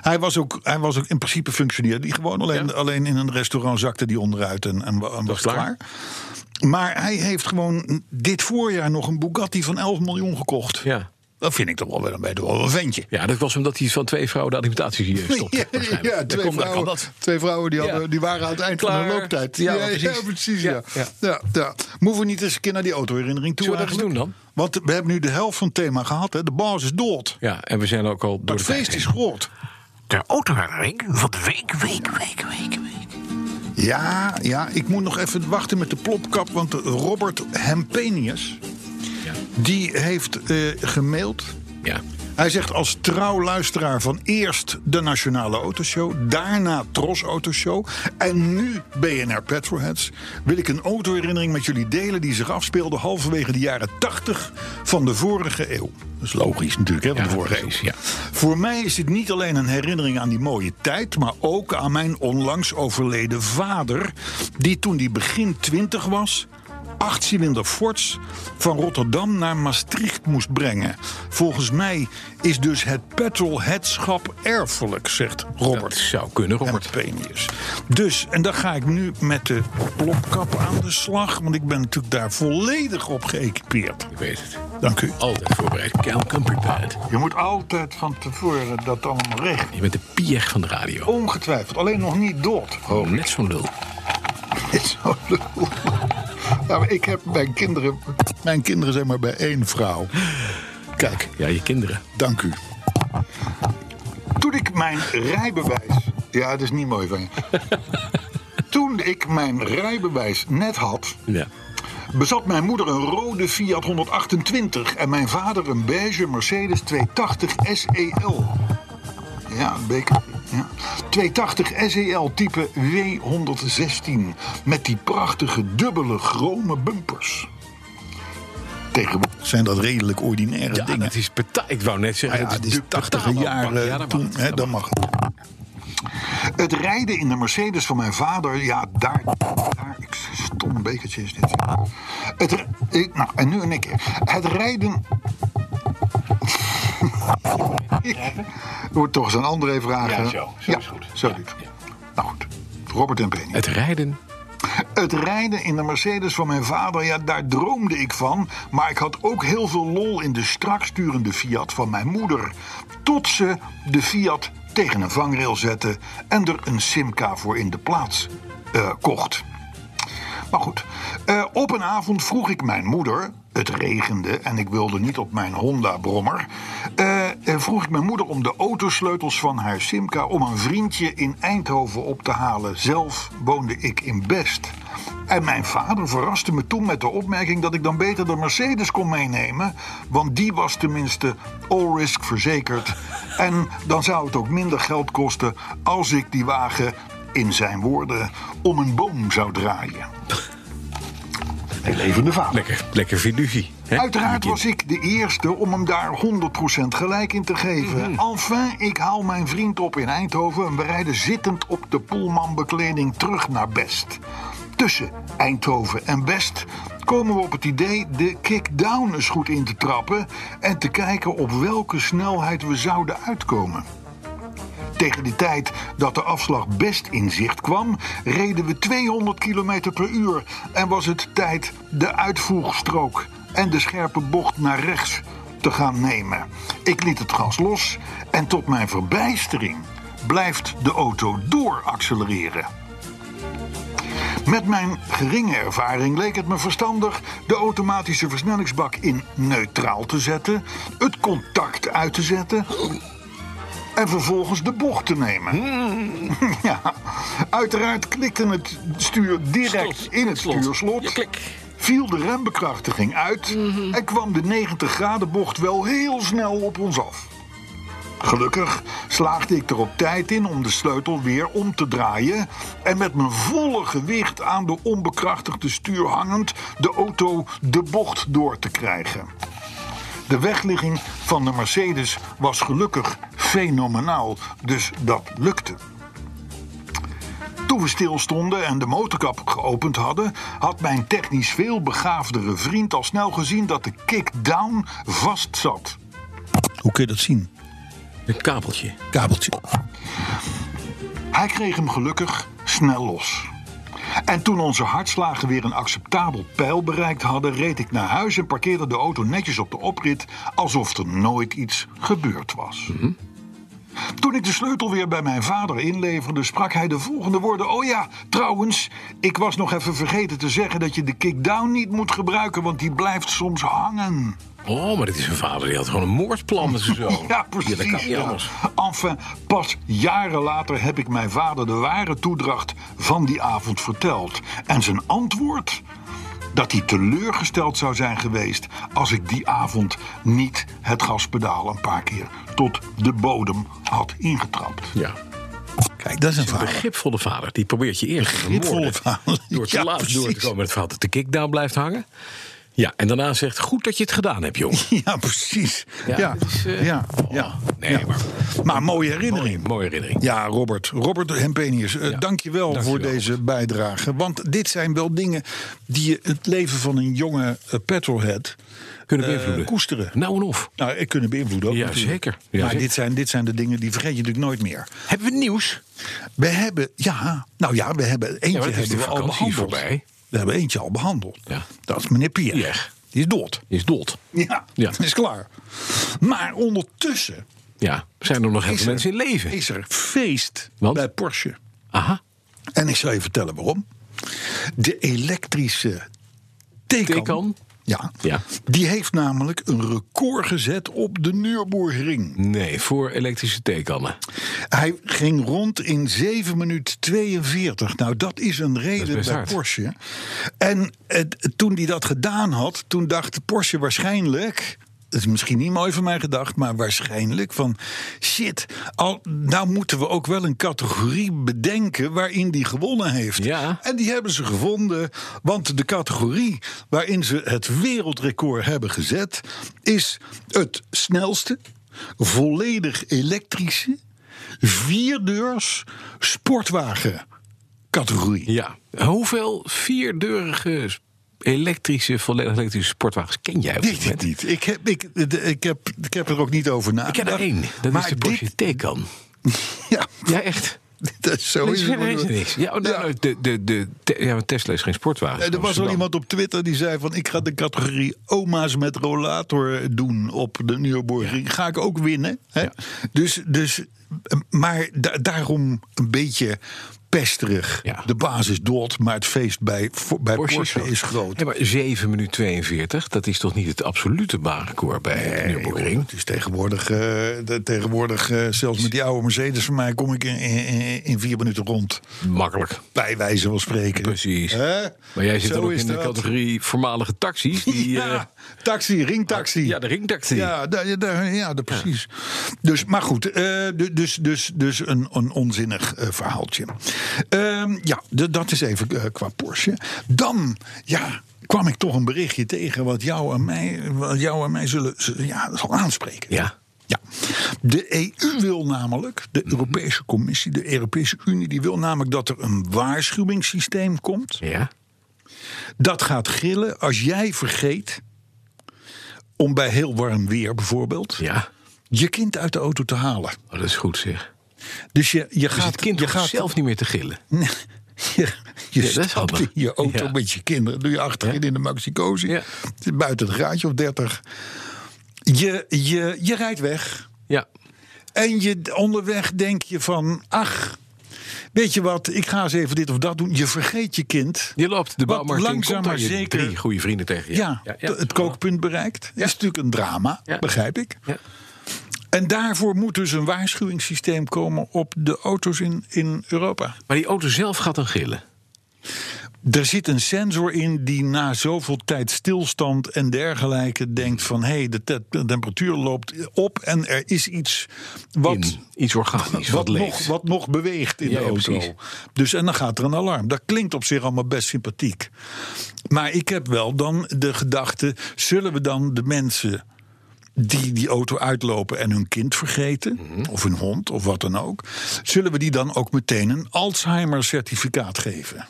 Speaker 2: Hij was ook, hij was ook in principe functioneerde die gewoon alleen,
Speaker 3: Ja.
Speaker 2: alleen in een restaurant zakte die onderuit en, en, wa- en was
Speaker 3: is klaar.
Speaker 2: klaar. Maar hij heeft gewoon dit voorjaar nog een Bugatti van 11 miljoen gekocht.
Speaker 3: Ja.
Speaker 2: Dat vind ik toch wel weer een, beetje wel een ventje.
Speaker 3: ja, dat was omdat hij van twee vrouwen de alimentatie hier stopte.
Speaker 2: Ja,
Speaker 3: waarschijnlijk.
Speaker 2: ja,
Speaker 3: Daar
Speaker 2: twee,
Speaker 3: komt- daar kan
Speaker 2: vrouwen,
Speaker 3: dat.
Speaker 2: twee vrouwen die,
Speaker 3: Ja.
Speaker 2: hadden, die waren aan het eind van
Speaker 3: Klaar.
Speaker 2: hun looptijd.
Speaker 3: Ja,
Speaker 2: ja,
Speaker 3: precies.
Speaker 2: precies. Ja.
Speaker 3: Ja,
Speaker 2: Ja.
Speaker 3: ja.
Speaker 2: Ja, Moeten we niet eens een keer naar die autoherinnering toe?
Speaker 3: Zullen we dat
Speaker 2: eigenlijk?
Speaker 3: eens doen
Speaker 2: Want we hebben nu de helft van het thema gehad. Hè. De baas is dood.
Speaker 3: Ja, en we zijn ook al door
Speaker 2: Het
Speaker 3: de tijd
Speaker 2: feest
Speaker 3: heen.
Speaker 2: is groot.
Speaker 3: De autoherinnering van de week, week, week, week, week.
Speaker 2: Ja, ja, ik moet nog even wachten met de plopkap. Want Robert Hempenius,
Speaker 3: Ja.
Speaker 2: die heeft eh, gemaild.
Speaker 3: ja.
Speaker 2: Hij zegt als trouw luisteraar van eerst de Nationale Autoshow, daarna Tros Autoshow en nu BNR Petrolheads, wil ik een autoherinnering met jullie delen die zich afspeelde halverwege de jaren 80 van de vorige eeuw. Dat is logisch natuurlijk, hè, van
Speaker 3: Ja,
Speaker 2: de vorige
Speaker 3: precies,
Speaker 2: eeuw.
Speaker 3: ja.
Speaker 2: Voor mij is dit niet alleen een herinnering aan die mooie tijd, maar ook aan mijn onlangs overleden vader, die toen die begin 20 was achtcilinder Forts van Rotterdam naar Maastricht moest brengen. Volgens mij is dus het petrolheadschap erfelijk, zegt Robert.
Speaker 3: Dat zou kunnen, Robert.
Speaker 2: Penius. Dus, en dan ga ik nu met de plopkap aan de slag, want ik ben natuurlijk daar volledig op geëquipeerd.
Speaker 3: Ik weet het.
Speaker 2: Dank u.
Speaker 3: Altijd voorbereid. Cal prepared.
Speaker 2: Je moet altijd van tevoren dat allemaal recht.
Speaker 3: Je bent de pier van de radio.
Speaker 2: Ongetwijfeld, alleen nog niet dood.
Speaker 3: Oh, net zo'n lul.
Speaker 2: Zo lul. Ja, maar ik heb mijn kinderen. Mijn kinderen zijn maar bij één vrouw. Kijk,
Speaker 3: Ja, je kinderen.
Speaker 2: dank u. Toen ik mijn rijbewijs. Ja, dat is niet mooi van je. Toen ik mijn rijbewijs net had,
Speaker 3: Ja.
Speaker 2: bezat mijn moeder een rode Fiat 128 en mijn vader een beige Mercedes 280 SEL. Ja, beker. Ja. 280 SEL type W116 met die prachtige dubbele chrome bumpers. Tegenwoordig zijn dat redelijk ordinaire
Speaker 3: Ja, dat is beta- Ik wou net zeggen,
Speaker 2: Ah ja,
Speaker 3: dat
Speaker 2: het
Speaker 3: is
Speaker 2: is
Speaker 3: de
Speaker 2: 80
Speaker 3: betaalbaar.
Speaker 2: jaar eh,
Speaker 3: Ja, dat
Speaker 2: toen,
Speaker 3: mag.
Speaker 2: hè, dan mag het. Het rijden in de Mercedes van mijn vader, ja, daar. daar ik, stom bekertje is dit. Het, r- ik, nou, en nu en ik. Het rijden. ik moet toch eens aan André vragen.
Speaker 3: Ja, zo. Zo is goed.
Speaker 2: Zo lief. Nou goed, Robert en Penny.
Speaker 3: Het rijden.
Speaker 2: Het rijden in de Mercedes van mijn vader, ja, daar droomde ik van. Maar ik had ook heel veel lol in de strak sturende Fiat van mijn moeder. Tot ze de Fiat tegen een vangrail zette en er een Simca voor in de plaats eh, kocht. Maar goed, eh, op een avond vroeg ik mijn moeder. Het regende en ik wilde niet op mijn Honda-brommer. eh, eh, vroeg ik mijn moeder om de autosleutels van haar Simca om een vriendje in Eindhoven op te halen. Zelf woonde ik in Best. En mijn vader verraste me toen met de opmerking dat ik dan beter de Mercedes kon meenemen. Want die was tenminste all risk verzekerd. En dan zou het ook minder geld kosten als ik die wagen, in zijn woorden, om een boom zou draaien. Een levende vader.
Speaker 3: Lekker, lekker fiducie. hè?
Speaker 2: Uiteraard
Speaker 3: Je kind.
Speaker 2: was ik de eerste om hem daar 100% gelijk in te geven. Enfin, ik haal mijn vriend op in Eindhoven en we rijden zittend op de Poelmanbekleding terug naar Best. Tussen Eindhoven en Best komen we op het idee de kickdown eens goed in te trappen en te kijken op welke snelheid we zouden uitkomen. Tegen de tijd dat de afslag best in zicht kwam, reden we 200 km per uur en was het tijd de uitvoegstrook en de scherpe bocht naar rechts te gaan nemen. Ik liet het gas los en tot mijn verbijstering blijft de auto dooraccelereren. Met mijn geringe ervaring leek het me verstandig de automatische versnellingsbak in neutraal te zetten, het contact uit te zetten en vervolgens de bocht te nemen.
Speaker 3: Hmm.
Speaker 2: ja, uiteraard klikte het stuur direct
Speaker 3: Slot.
Speaker 2: in het
Speaker 3: Slot.
Speaker 2: stuurslot.
Speaker 3: Ja, klik.
Speaker 2: Viel de rembekrachtiging uit en kwam de 90 graden bocht wel heel snel op ons af. Gelukkig slaagde ik er op tijd in om de sleutel weer om te draaien en met mijn volle gewicht aan de onbekrachtigde stuur hangend de auto de bocht door te krijgen. De wegligging van de Mercedes was gelukkig fenomenaal, dus dat lukte. Toen we stilstonden en de motorkap geopend hadden, had mijn technisch veel begaafdere vriend al snel gezien dat de kick-down vast zat. Hoe kun je dat zien?
Speaker 3: Een kabeltje.
Speaker 2: kabeltje. Hij kreeg hem gelukkig snel los. En toen onze hartslagen weer een acceptabel pijl bereikt hadden, reed ik naar huis en parkeerde de auto netjes op de oprit alsof er nooit iets gebeurd was. Toen ik de sleutel weer bij mijn vader inleverde, sprak hij de volgende woorden: Oh ja, trouwens, ik was nog even vergeten te zeggen dat je de kickdown niet moet gebruiken, want die blijft soms hangen.
Speaker 3: Oh, maar dit is een vader die had gewoon een moordplan met zijn zoon.
Speaker 2: Ja, precies.
Speaker 3: dat kan niet
Speaker 2: ja.
Speaker 3: anders.
Speaker 2: Enfin, pas jaren later heb ik mijn vader de ware toedracht van die avond verteld. En zijn antwoord? Dat hij teleurgesteld zou zijn geweest als ik die avond niet het gaspedaal een paar keer tot de bodem had ingetrapt.
Speaker 3: Ja.
Speaker 2: Kijk, dat is een
Speaker 3: Begripvolle vader. Die probeert je eerst te
Speaker 2: Begripvolle
Speaker 3: vermoorden.
Speaker 2: vader.
Speaker 3: Door te
Speaker 2: Ja,
Speaker 3: laat door te
Speaker 2: precies.
Speaker 3: komen met het verhaal dat de kickdown blijft hangen. Ja, en daarna zegt, goed dat je het gedaan hebt, jong.
Speaker 2: Ja, precies. Ja,
Speaker 3: Ja,
Speaker 2: ja,
Speaker 3: dat is, eh,
Speaker 2: ja,
Speaker 3: nee,
Speaker 2: Ja.
Speaker 3: maar-
Speaker 2: Maar mooie herinnering.
Speaker 3: Mooie herinnering.
Speaker 2: Ja, Robert. Robert Hempenius, eh, dankjewel
Speaker 3: Dankjewel,
Speaker 2: voor deze bijdrage. Want dit zijn wel dingen die je het leven van een jonge eh, petrolhead
Speaker 3: Kunnen
Speaker 2: eh,
Speaker 3: beïnvloeden.
Speaker 2: koesteren.
Speaker 3: Nou en of.
Speaker 2: Nou, ik kunnen beïnvloeden ook.
Speaker 3: Ja,
Speaker 2: natuurlijk.
Speaker 3: zeker. Ja,
Speaker 2: maar
Speaker 3: zeker.
Speaker 2: Dit, zijn, dit zijn de dingen die vergeet je natuurlijk nooit meer.
Speaker 3: Hebben we nieuws?
Speaker 2: We hebben, ja, nou ja, we hebben eentje
Speaker 3: maar het is
Speaker 2: hebben
Speaker 3: de
Speaker 2: we al
Speaker 3: vakantie
Speaker 2: behandeld.
Speaker 3: voorbij.
Speaker 2: We hebben eentje al behandeld.
Speaker 3: Ja.
Speaker 2: Dat is meneer Pierre.
Speaker 3: Pierre.
Speaker 2: Die is dood.
Speaker 3: Is dood.
Speaker 2: Ja,
Speaker 3: Ja.
Speaker 2: is klaar. Maar ondertussen
Speaker 3: Ja, zijn er nog heel
Speaker 2: Is
Speaker 3: veel
Speaker 2: er-
Speaker 3: mensen in leven?
Speaker 2: is er feest
Speaker 3: Want?
Speaker 2: bij Porsche.
Speaker 3: Aha.
Speaker 2: En ik zal je vertellen waarom. De elektrische Taycan,
Speaker 3: Taycan?
Speaker 2: Ja,
Speaker 3: Ja.
Speaker 2: die heeft namelijk een record gezet op de Nürburgring.
Speaker 3: Nee, voor elektrische theekannen.
Speaker 2: Hij ging rond in 7 minuten 42. Nou, dat is een reden
Speaker 3: best
Speaker 2: bij
Speaker 3: hard.
Speaker 2: Porsche. En het, toen hij dat gedaan had, toen dacht Porsche waarschijnlijk... Het is misschien niet mooi van mij gedacht, maar waarschijnlijk van... shit, al, nou moeten we ook wel een categorie bedenken waarin die gewonnen heeft.
Speaker 3: Ja.
Speaker 2: En die hebben ze gevonden, want de categorie waarin ze het wereldrecord hebben gezet... is het snelste, volledig elektrische, vierdeurs sportwagen categorie.
Speaker 3: Ja. Hoeveel vierdeurige s- elektrische, volledig elektrische sportwagens ken jij op dit
Speaker 2: Weet
Speaker 3: moment?
Speaker 2: ik niet. Ik heb, ik, de- ik, heb, ik heb er ook niet over
Speaker 3: Ik ken
Speaker 2: nagedacht.
Speaker 3: er één. Dat
Speaker 2: maar
Speaker 3: is de Porsche
Speaker 2: dit,
Speaker 3: Taycan.
Speaker 2: ja,
Speaker 3: Ja, echt.
Speaker 2: dat is zo
Speaker 3: Er
Speaker 2: is
Speaker 3: is
Speaker 2: het.
Speaker 3: verder is er niks. Ja, oh, nou,
Speaker 2: Ja.
Speaker 3: nou, de, de, de, te- ja, want Tesla is geen sportwagen.
Speaker 2: Eh, Er was al
Speaker 3: Amsterdam.
Speaker 2: iemand op Twitter die zei van... ik ga de categorie oma's met rollator doen op de Nürburgring. Ga ik ook winnen. Hè?
Speaker 3: Ja.
Speaker 2: Dus, dus, eh, maar da- daarom een beetje pesterig.
Speaker 3: Ja.
Speaker 2: De baas is dood, maar het feest bij, voor- bij Porsche,
Speaker 3: zo.
Speaker 2: is groot.
Speaker 3: Ja, maar 7 minuten 42, dat is toch niet het absolute baanrecord bij de Nürburgring?
Speaker 2: Het is tegenwoordig, eh, de- tegenwoordig eh, zelfs met die oude Mercedes van mij... kom ik in, in, in vier minuten rond.
Speaker 3: Makkelijk.
Speaker 2: Bij wijze van spreken.
Speaker 3: Precies.
Speaker 2: Hè?
Speaker 3: Maar jij zit
Speaker 2: Zo
Speaker 3: dan ook
Speaker 2: is
Speaker 3: in de
Speaker 2: dat.
Speaker 3: categorie voormalige taxis. Die, eh,
Speaker 2: Ja, taxi, ringtaxi.
Speaker 3: ja, de ringtaxi.
Speaker 2: Ja, daar, ja, daar- ja daar- precies. Dus, maar goed, eh, du- dus, dus, dus een, een onzinnig eh, verhaaltje. Ehm, ja, d- dat is even eh, qua Porsche. Dan, ja, kwam ik toch een berichtje tegen wat jou en mij, wat jou en mij zullen, z- ja, zal aanspreken.
Speaker 3: Ja. Mhm.
Speaker 2: Ja, de EU wil namelijk, de Europese Commissie, de Europese Unie, die wil namelijk dat er een waarschuwingssysteem komt
Speaker 3: Ja.
Speaker 2: dat gaat gillen als jij vergeet om bij heel warm weer bijvoorbeeld
Speaker 3: Ja.
Speaker 2: je kind uit de auto te halen.
Speaker 3: Oh, dat is goed zeg.
Speaker 2: Dus je, je
Speaker 3: Dus
Speaker 2: gaat
Speaker 3: het kind
Speaker 2: je
Speaker 3: hoeft
Speaker 2: gaat
Speaker 3: zelf niet meer te gillen.
Speaker 2: Nee, je, je
Speaker 3: Ja, dat is
Speaker 2: stapt
Speaker 3: handig.
Speaker 2: in je auto
Speaker 3: Ja.
Speaker 2: met je kinderen, doe je achterin in de maxicosi,
Speaker 3: Ja.
Speaker 2: buiten het graadje of 30. Je, je, je rijdt weg
Speaker 3: Ja.
Speaker 2: en je onderweg denk je van ach. Weet je wat, ik ga eens even dit of dat doen. Je vergeet je kind.
Speaker 3: Je loopt de
Speaker 2: Wat
Speaker 3: bouwmarkt in,
Speaker 2: langzaam
Speaker 3: komt daar
Speaker 2: maar
Speaker 3: je
Speaker 2: zeker-
Speaker 3: drie goede vrienden tegen je.
Speaker 2: Ja, t- het kookpunt bereikt. Dat is natuurlijk een drama,
Speaker 3: Ja.
Speaker 2: begrijp ik.
Speaker 3: Ja.
Speaker 2: En daarvoor moet dus een waarschuwingssysteem komen op de auto's in, in Europa.
Speaker 3: Maar die auto zelf gaat dan gillen.
Speaker 2: Er zit een sensor in die na zoveel tijd stilstand en dergelijke denkt van hé, hey, de, te- de temperatuur loopt op en er is iets wat,
Speaker 3: in iets organisch, wat,
Speaker 2: Mm. wat,
Speaker 3: leeft.
Speaker 2: nog, wat nog beweegt in
Speaker 3: Ja,
Speaker 2: de
Speaker 3: ja,
Speaker 2: auto.
Speaker 3: precies.
Speaker 2: dus en dan gaat er een alarm. Dat klinkt op zich allemaal best sympathiek. Maar ik heb wel dan de gedachte: zullen we dan de mensen die die auto uitlopen en hun kind vergeten,
Speaker 3: Mhm.
Speaker 2: of hun hond of wat dan ook, zullen we die dan ook meteen een Alzheimer-certificaat geven?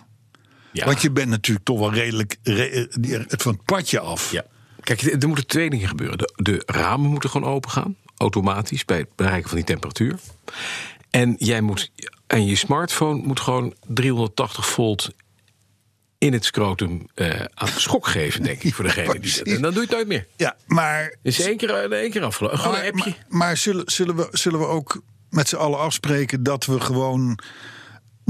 Speaker 3: Ja.
Speaker 2: Want je bent natuurlijk toch wel redelijk re- eh, die- het van het padje af.
Speaker 3: Ja. Kijk, er er moeten twee dingen gebeuren. De, de ramen moeten gewoon open gaan, automatisch, bij het bereiken van die temperatuur. En, jij moet, en je smartphone moet gewoon 380 volt in het scrotum eh, aan schok geven, denk ik, voor degene die dat.
Speaker 2: Precies.
Speaker 3: En dan doe je het nooit meer.
Speaker 2: Ja, maar
Speaker 3: Dus één keer, één keer afgelopen. Gewoon een
Speaker 2: Oh, maar,
Speaker 3: appje.
Speaker 2: Maar, maar zullen, zullen, we, zullen we ook met z'n allen afspreken dat we gewoon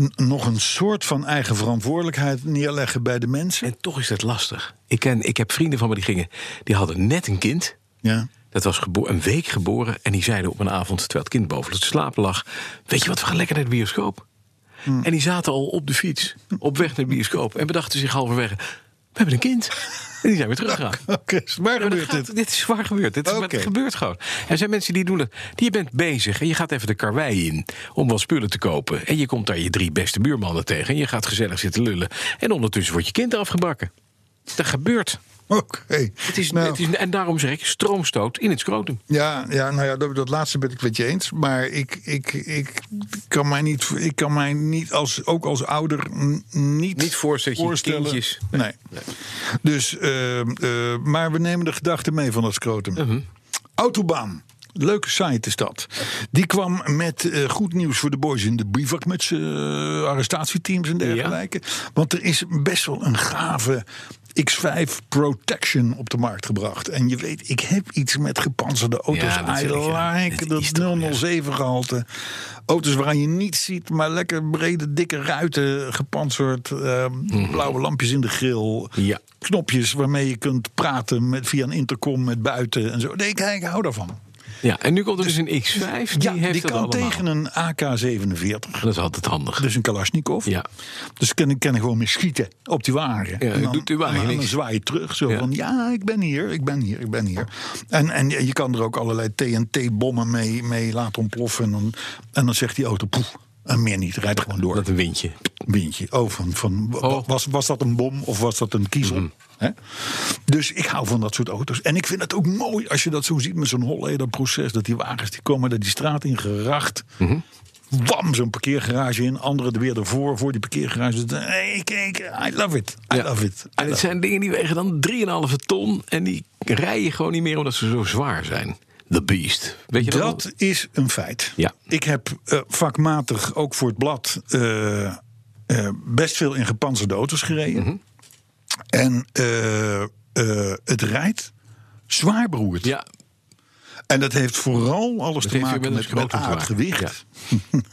Speaker 2: n- nog een soort van eigen verantwoordelijkheid neerleggen bij de mensen?
Speaker 3: En toch is dat lastig. Ik, ken, ik heb vrienden van me die gingen, die hadden net een kind.
Speaker 2: Ja.
Speaker 3: Dat was gebo- een week geboren. En die zeiden op een avond, terwijl het kind boven het slapen lag... weet je wat, we gaan lekker naar de bioscoop.
Speaker 2: Hmm.
Speaker 3: En die zaten al op de fiets, op weg naar de bioscoop. En bedachten zich halverwege, we hebben een kind. En die zijn weer teruggegaan.
Speaker 2: Oké, waar
Speaker 3: Ja, maar dat
Speaker 2: gebeurt
Speaker 3: gaat-
Speaker 2: dit?
Speaker 3: Dit is waar gebeurd. Dit is, maar
Speaker 2: Oké.
Speaker 3: het gebeurt gewoon. Er zijn mensen die doen dat. Die je bent bezig en je gaat even de karwei in om wat spullen te kopen. En je komt daar je drie beste buurmannen tegen. En je gaat gezellig zitten lullen. En ondertussen wordt je kind afgebakken. Dat gebeurt.
Speaker 2: Oké.
Speaker 3: Het is,
Speaker 2: Nou,
Speaker 3: het is, en daarom zeg ik stroomstoot in het scrotum.
Speaker 2: Ja, ja, nou ja, dat, dat laatste ben ik met je eens. Maar ik, ik, ik kan mij niet, ik kan mij niet als, ook als ouder n- niet,
Speaker 3: Niet voorstellen dat je kindjes-
Speaker 2: Nee. Dus, eh, eh, maar we nemen de gedachte mee van dat scrotum.
Speaker 3: Mhm.
Speaker 2: Autobaan. Leuke site is dat. Die kwam met eh, goed nieuws voor de boys in de bivakmutsen, eh, arrestatieteams en dergelijke. Want er is best wel een gave X5 Protection op de markt gebracht. En je weet, ik heb iets met gepanzerde auto's.
Speaker 3: Ja, dat
Speaker 2: I
Speaker 3: zeg ik, ja.
Speaker 2: like
Speaker 3: Dat
Speaker 2: dat
Speaker 3: is toch, ja.
Speaker 2: 007 gehalte. Auto's waar je niets ziet, maar lekker brede, dikke ruiten, gepantserd. eh, Blauwe lampjes in de grill.
Speaker 3: Mhm. Ja.
Speaker 2: Knopjes waarmee je kunt praten met, via een intercom met buiten en zo. Nee, ik, ik hou daarvan.
Speaker 3: Ja, en nu komt er dus een X5. Die
Speaker 2: ja,
Speaker 3: heeft
Speaker 2: die
Speaker 3: dat
Speaker 2: kan
Speaker 3: allemaal.
Speaker 2: tegen een AK-47.
Speaker 3: Dat is altijd handig.
Speaker 2: Dus een Kalashnikov.
Speaker 3: Ja.
Speaker 2: Dus kan, kan gewoon mee schieten op die wagen.
Speaker 3: Ja, doet die wagen
Speaker 2: en dan
Speaker 3: niks.
Speaker 2: zwaai je terug. Zo
Speaker 3: Ja.
Speaker 2: van, ja, ik ben hier, ik ben hier, ik ben hier. En, en je kan er ook allerlei TNT-bommen mee, mee laten ontploffen. En dan, en dan zegt die auto, poef, en meer niet. Rijdt gewoon door.
Speaker 3: Dat een windje.
Speaker 2: Windje. Oh, van, van, wa-
Speaker 3: Oh. Mhm.
Speaker 2: Was, was dat een bom of was dat een kiezel? Hè? Dus ik hou van dat soort auto's. En ik vind het ook mooi als je dat zo ziet met zo'n Holleder-proces. Dat die wagens die komen er die straat in geracht.
Speaker 3: Mhm.
Speaker 2: Wam, zo'n parkeergarage in. Anderen weer ervoor, voor die parkeergarage. Dus, Hey, kijk, I love it. I
Speaker 3: Ja.
Speaker 2: love it. I
Speaker 3: En
Speaker 2: love
Speaker 3: het
Speaker 2: it.
Speaker 3: zijn dingen die wegen dan 3,5 ton. En die rijden gewoon niet meer omdat ze zo zwaar zijn. The Beast. Weet je dat?
Speaker 2: Dat
Speaker 3: nog?
Speaker 2: is een feit.
Speaker 3: Ja.
Speaker 2: Ik heb eh, vakmatig ook voor het blad eh, eh, best veel in gepantserde auto's gereden.
Speaker 3: Mhm.
Speaker 2: En eh, eh, het rijdt zwaar beroerd.
Speaker 3: Ja,
Speaker 2: En dat heeft vooral alles te
Speaker 3: heeft weer
Speaker 2: maken
Speaker 3: met
Speaker 2: met,
Speaker 1: een
Speaker 2: met
Speaker 1: grote
Speaker 2: A, het
Speaker 3: zwaar.
Speaker 2: gewicht.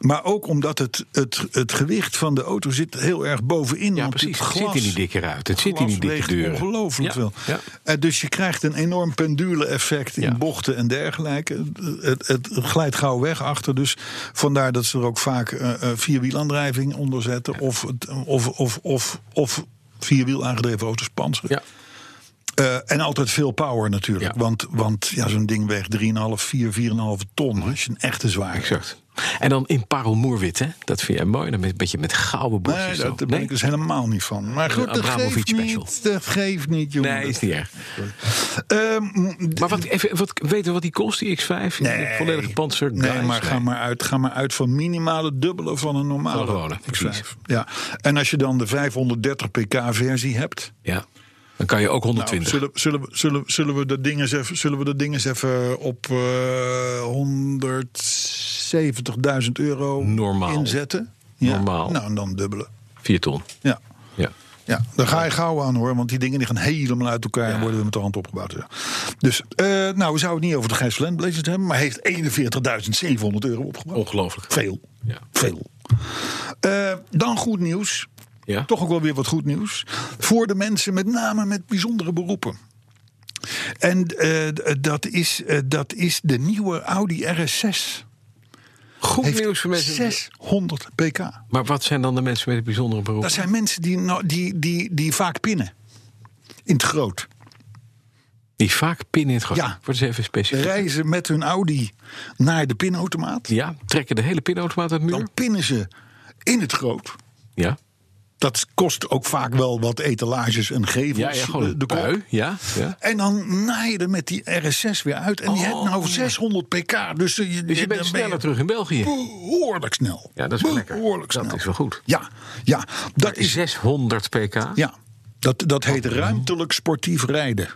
Speaker 2: maar ook omdat het, het, het gewicht van de auto zit heel erg bovenin.
Speaker 3: ja
Speaker 2: want
Speaker 3: precies.
Speaker 2: dit
Speaker 3: Het zit in die dikke ruit. Het zit in die
Speaker 2: glas weegt
Speaker 3: dikke deuren.
Speaker 2: ongelooflijk
Speaker 3: Ja,
Speaker 2: veel.
Speaker 3: ja.
Speaker 2: En dus je krijgt een enorm pendule-effect in
Speaker 3: Ja.
Speaker 2: bochten en dergelijke. Het, het, het glijdt gauw weg achter. Dus vandaar dat ze er ook vaak eh eh, vierwielaandrijving onder zetten. Of, het- of, of, of, of vierwiel aangedreven auto's panseren.
Speaker 3: Ja.
Speaker 2: Eh, en altijd veel power natuurlijk.
Speaker 3: Ja.
Speaker 2: Want, want ja, zo'n ding weegt 3,5, 4, 4,5 ton. Als je een echte zwaar
Speaker 3: Exact. En dan in parelmoerwit, hè? Dat vind jij mooi. Dan met, een beetje met gouden bordjes.
Speaker 2: Nee,
Speaker 3: zo.
Speaker 2: daar ben ik dus helemaal niet van. Maar goed, dat
Speaker 3: Abramovic
Speaker 2: geeft
Speaker 3: special.
Speaker 2: niet. Dat geeft niet, jongen.
Speaker 3: Nee, is niet erg.
Speaker 2: Ehm,
Speaker 3: Maar wat, even, wat, weten we wat die kost, die X5?
Speaker 2: Nee.
Speaker 3: Volledige panzer.
Speaker 2: Nee,
Speaker 3: guys,
Speaker 2: maar ga, maar, uit, ga maar uit van minimale dubbele van een normale.
Speaker 3: Van een gewone,
Speaker 2: X5.
Speaker 3: precies.
Speaker 2: Ja. En als je dan de 530 pk versie hebt.
Speaker 3: Ja. Dan kan je ook
Speaker 2: nou,
Speaker 3: 120.
Speaker 2: zullen, zullen, we- zullen, we- zullen we dat ding eens even, zullen we dat ding eens even op eh 170.000 euro
Speaker 3: Normaal.
Speaker 2: inzetten?
Speaker 3: Normaal.
Speaker 2: Nou, en dan dubbele.
Speaker 3: 4 ton.
Speaker 2: Ja.
Speaker 3: Ja.
Speaker 2: Ja, daar ga je gauw aan hoor, want die dingen die gaan helemaal uit elkaar en worden weer met de hand opgebouwd. Ja. Dus, eh, nou, we zouden het niet over de Gijs Blazers hebben, maar hij heeft 41.700 euro opgebouwd.
Speaker 3: Ongelooflijk.
Speaker 2: Veel.
Speaker 3: Ja.
Speaker 2: Veel. Eh, dan goed nieuws.
Speaker 3: Ja.
Speaker 2: Toch ook wel weer wat goed nieuws. Voor de mensen, met name met bijzondere beroepen. En eh, d- dat, is, eh, dat is de nieuwe Audi RS6.
Speaker 3: Goed
Speaker 2: Heeft
Speaker 3: nieuws voor mensen.
Speaker 2: 600 pk.
Speaker 3: Maar wat zijn dan de mensen met een bijzondere beroep?
Speaker 2: Dat zijn mensen die, nou- die, die, die vaak pinnen. In het groot.
Speaker 3: Die vaak pinnen in het gat.
Speaker 2: Ja.
Speaker 3: Wordt eens even specifiek.
Speaker 2: Reizen met hun Audi naar de pinautomaat.
Speaker 3: Ja, trekken de hele pinautomaat uit de muur.
Speaker 2: Dan pinnen ze in het groot.
Speaker 3: Ja.
Speaker 2: Dat kost ook vaak wel wat etalages en gevels.
Speaker 3: Ja, ja, gewoon
Speaker 2: de, de kop.
Speaker 3: bui. Ja, ja.
Speaker 2: En dan naai je er met die RS6 weer uit. En die hebt nou 600 pk. Dus, eh, je,
Speaker 3: Oh, Dus je
Speaker 2: dan
Speaker 3: bent sneller terug in België.
Speaker 2: Behoorlijk snel.
Speaker 3: Ja, dat is wel lekker.
Speaker 2: Behoorlijk snel.
Speaker 3: Dat is wel goed.
Speaker 2: Ja, ja dat is...
Speaker 3: 600 pk.
Speaker 2: Ja, dat, dat heet ruimtelijk sportief rijden.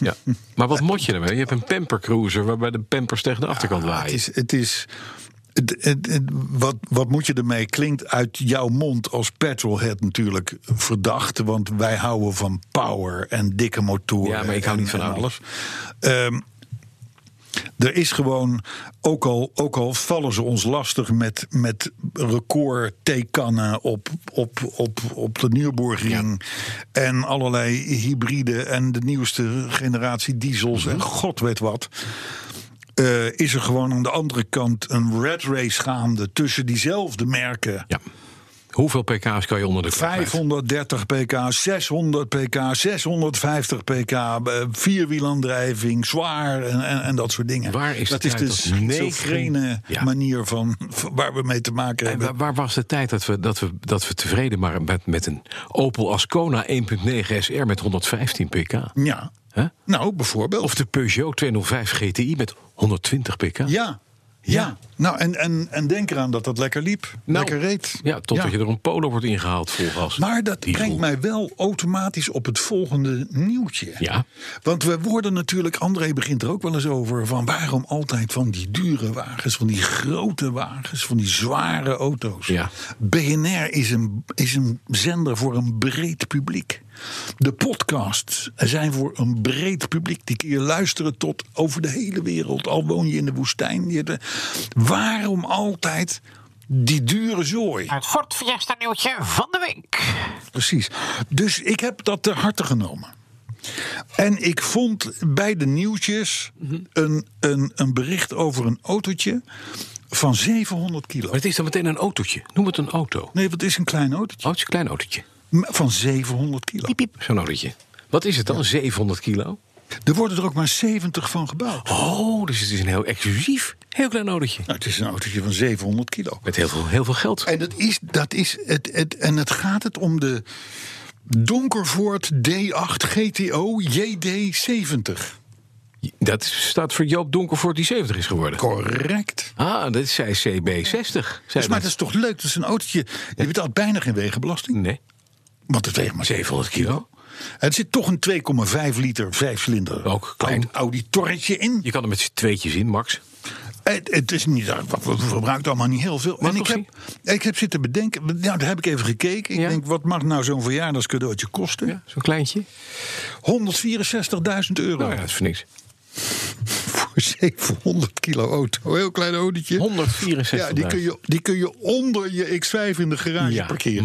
Speaker 3: Ja. Maar wat moet je ermee? Je hebt een pampercruiser waarbij de pampers tegen de achterkant
Speaker 2: Het
Speaker 3: waaien.
Speaker 2: is... Het is het, het- het- wat, wat moet je ermee? Klinkt uit jouw mond als petrolhead natuurlijk verdacht. Want wij houden van power en dikke motoren.
Speaker 3: Ja, maar ik hou
Speaker 2: en-
Speaker 3: niet van
Speaker 2: en
Speaker 3: Audi.
Speaker 2: alles. Ehm, er is gewoon, ook al, ook al vallen ze ons lastig met, met record theekannen op, op, op, op de Nürburgring. En allerlei hybride en de nieuwste generatie diesels
Speaker 3: Mhm.
Speaker 2: en god weet wat. eh, is er gewoon aan de andere kant een red race gaande tussen diezelfde merken.
Speaker 3: Ja. Hoeveel pk's kan je onder de knop?
Speaker 2: 530 pk, 600 pk, 650 pk, eh, vierwielaandrijving, zwaar en, en, en dat soort dingen.
Speaker 3: Waar is
Speaker 2: dat
Speaker 3: de
Speaker 2: is
Speaker 3: tijd
Speaker 2: de
Speaker 3: dat negen-
Speaker 2: schizofrene
Speaker 3: Ja.
Speaker 2: manier van, van waar we mee te maken
Speaker 3: En
Speaker 2: hebben.
Speaker 3: waar, waar was de tijd dat we, dat we, dat we tevreden waren met, met een Opel Ascona 1.9 SR met 115 pk?
Speaker 2: Ja,
Speaker 3: Hè?
Speaker 2: nou bijvoorbeeld.
Speaker 3: Of de Peugeot 205 GTI met 120 pk?
Speaker 2: Ja. Ja. nou en, en, en denk eraan dat dat lekker liep.
Speaker 3: Nou,
Speaker 2: lekker reed.
Speaker 3: Ja, totdat je er een polo wordt ingehaald vol gas.
Speaker 2: Maar dat
Speaker 3: Diesel.
Speaker 2: brengt mij wel automatisch op het volgende nieuwtje.
Speaker 3: Ja.
Speaker 2: Want we worden natuurlijk, André begint er ook wel eens over, van waarom altijd van die dure wagens, van die grote wagens, van die zware auto's.
Speaker 3: Ja.
Speaker 2: BNR is een, is een zender voor een breed publiek. De podcasts zijn voor een breed publiek. Die kun je luisteren tot over de hele wereld. Al woon je in de woestijn. Je de- waarom altijd die dure zooi?
Speaker 4: Het Ford Fiesta nieuwtje van de week.
Speaker 2: Precies. Dus ik heb dat ter harte genomen. En ik vond bij de nieuwtjes
Speaker 3: Mhm.
Speaker 2: een, een, een bericht over een autootje van 700 kilo.
Speaker 3: Maar het is dan meteen een autootje. Noem het een auto.
Speaker 2: Nee, wat is een klein autootje?
Speaker 3: Oh, het is een klein autootje.
Speaker 2: M- Van 700 kilo.
Speaker 3: Piep, piep. Zo'n autootje. Wat is het dan? 700 kilo?
Speaker 2: Er worden er ook maar 70 van gebouwd.
Speaker 3: Oh, dus het is een heel exclusief, heel klein autootje.
Speaker 2: Nou, het is een autootje van 700 kilo.
Speaker 3: Met heel veel, heel veel geld.
Speaker 2: En dat is, dat is het, het, en het gaat het om de Donkervoort D8 GTO JD70.
Speaker 3: Dat staat voor Joop Donkervoort die 70 is geworden.
Speaker 2: Correct.
Speaker 3: Ah, dat zei CB60. Zei
Speaker 2: Dus, maar dat is toch leuk? Dat is een autootje. Je betaalt bijna geen wegenbelasting.
Speaker 3: Nee,
Speaker 2: Want het weegt maar
Speaker 3: 700 kilo.
Speaker 2: Het zit toch een 2,5 liter vijfcilinder
Speaker 3: Ook klein.
Speaker 2: oud- auditorretje in.
Speaker 3: Je kan er met z'n tweetjes in, Max.
Speaker 2: Het, het is niet, we verbruiken allemaal niet heel veel.
Speaker 3: Maar
Speaker 2: en ik
Speaker 3: toch
Speaker 2: heb, ik heb zitten bedenken, nou, daar heb ik even gekeken. Ik
Speaker 3: Ja.
Speaker 2: denk, wat mag nou zo'n verjaardagscadeautje kosten?
Speaker 3: Zo'n kleintje.
Speaker 2: 164.000 euro
Speaker 3: Nou ja, dat is voor niks.
Speaker 2: voor 700 kilo auto. Heel klein autootje.
Speaker 3: 164.
Speaker 2: Ja, die kun, je, die kun je onder je X5 in de garage
Speaker 3: ja,
Speaker 2: parkeren.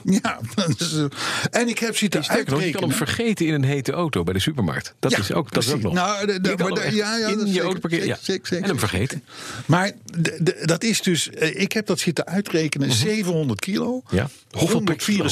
Speaker 2: Ja, dat is, eh, en ik heb zitten
Speaker 3: Sterker nog, je kan hem
Speaker 2: uitrekenen.
Speaker 3: vergeten in een hete auto bij de supermarkt. Dat,
Speaker 2: Ja,
Speaker 3: is, ook, dat is ook
Speaker 2: precies.
Speaker 3: nog.
Speaker 2: Nou, de- de-
Speaker 3: Je kan
Speaker 2: maar
Speaker 3: hem
Speaker 2: de-
Speaker 3: echt
Speaker 2: ja, ja,
Speaker 3: in
Speaker 2: dat
Speaker 3: je
Speaker 2: zeker,
Speaker 3: auto parkeren.
Speaker 2: zeker, zeker, zeker,
Speaker 3: en hem vergeten.
Speaker 2: Maar de- de- dat is dus, eh, ik heb dat zitten uitrekenen, 700 kilo,
Speaker 3: Mhm. Ja. Hoeveel per kilo?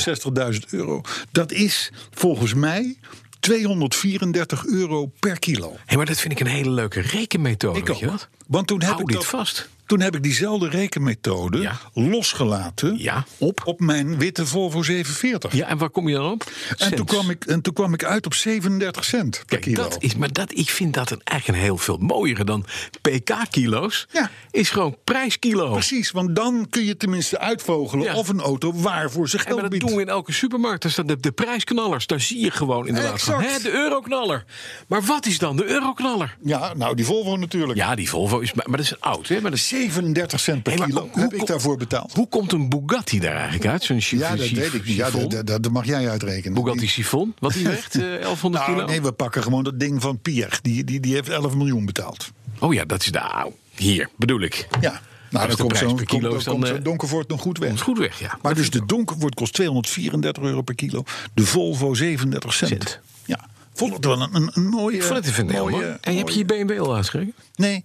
Speaker 2: 164.000 euro. Dat is volgens mij 234 euro per kilo.
Speaker 3: Hé, maar dat vind ik een hele leuke rekenmethode.
Speaker 2: Ik
Speaker 3: Oh, weet je
Speaker 2: ook.
Speaker 3: wat?
Speaker 2: Want toen heb
Speaker 3: Hou
Speaker 2: ik
Speaker 3: dit
Speaker 2: dat-
Speaker 3: vast.
Speaker 2: Toen heb ik diezelfde rekenmethode
Speaker 3: Ja.
Speaker 2: losgelaten
Speaker 3: Ja, op.
Speaker 2: op mijn witte Volvo 47.
Speaker 3: Ja, en waar kom je dan op?
Speaker 2: En toen,
Speaker 3: Cents.
Speaker 2: kwam ik, en toen kwam ik uit op 37 cent per
Speaker 3: Kijk,
Speaker 2: kilo.
Speaker 3: dat is, maar dat, ik vind dat een, eigenlijk een heel veel mooiere dan pk-kilo's.
Speaker 2: Ja.
Speaker 3: Is gewoon prijskilo.
Speaker 2: Precies, want dan kun je tenminste uitvogelen
Speaker 3: Ja.
Speaker 2: of een auto waarvoor ze
Speaker 3: En
Speaker 2: geld
Speaker 3: maar dat
Speaker 2: biedt.
Speaker 3: doen we in elke supermarkt. Daar staan de, de prijsknallers. Daar zie je gewoon inderdaad van,
Speaker 2: Exact.
Speaker 3: hè, de euroknaller. Maar wat is dan de euroknaller?
Speaker 2: Ja, nou die Volvo natuurlijk.
Speaker 3: Ja, die Volvo is... Maar, maar dat is een oud, hè? Maar dat is
Speaker 2: 37 cent per
Speaker 3: Hey, maar
Speaker 2: kilo
Speaker 3: hoe
Speaker 2: heb ik
Speaker 3: kom-
Speaker 2: daarvoor betaald.
Speaker 3: Hoe komt een Bugatti daar eigenlijk uit? Zo'n chi-
Speaker 2: ja, dat
Speaker 3: chi-
Speaker 2: weet ik niet. Ja,
Speaker 3: chiffon?
Speaker 2: dat, dat, dat mag jij uitrekenen.
Speaker 3: Bugatti
Speaker 2: Die-
Speaker 3: Chiffon, wat die weegt? eh, 1100
Speaker 2: nou,
Speaker 3: kilo?
Speaker 2: nee, we pakken gewoon dat ding van Pier. Die, die, die heeft 11 miljoen betaald.
Speaker 3: Oh ja, dat is de... au, hier, bedoel ik.
Speaker 2: Ja,
Speaker 3: Als
Speaker 2: nou,
Speaker 3: de
Speaker 2: dan komt
Speaker 3: prijs
Speaker 2: zo'n
Speaker 3: per
Speaker 2: komt,
Speaker 3: kilo
Speaker 2: dan
Speaker 3: is dan,
Speaker 2: komt
Speaker 3: eh,
Speaker 2: zo'n Donkervoort nog goed weg.
Speaker 3: Komt goed weg, ja.
Speaker 2: Maar dus de Donkervoort kost 234 euro per kilo. De Volvo 37 cent.
Speaker 3: Cent.
Speaker 2: Ja, vond het wel een, een, een mooie...
Speaker 3: Ik vond het even heel
Speaker 2: mooie-
Speaker 3: mooi. En heb je je
Speaker 2: mooie-
Speaker 3: BMW al aangeschreven?
Speaker 2: Nee,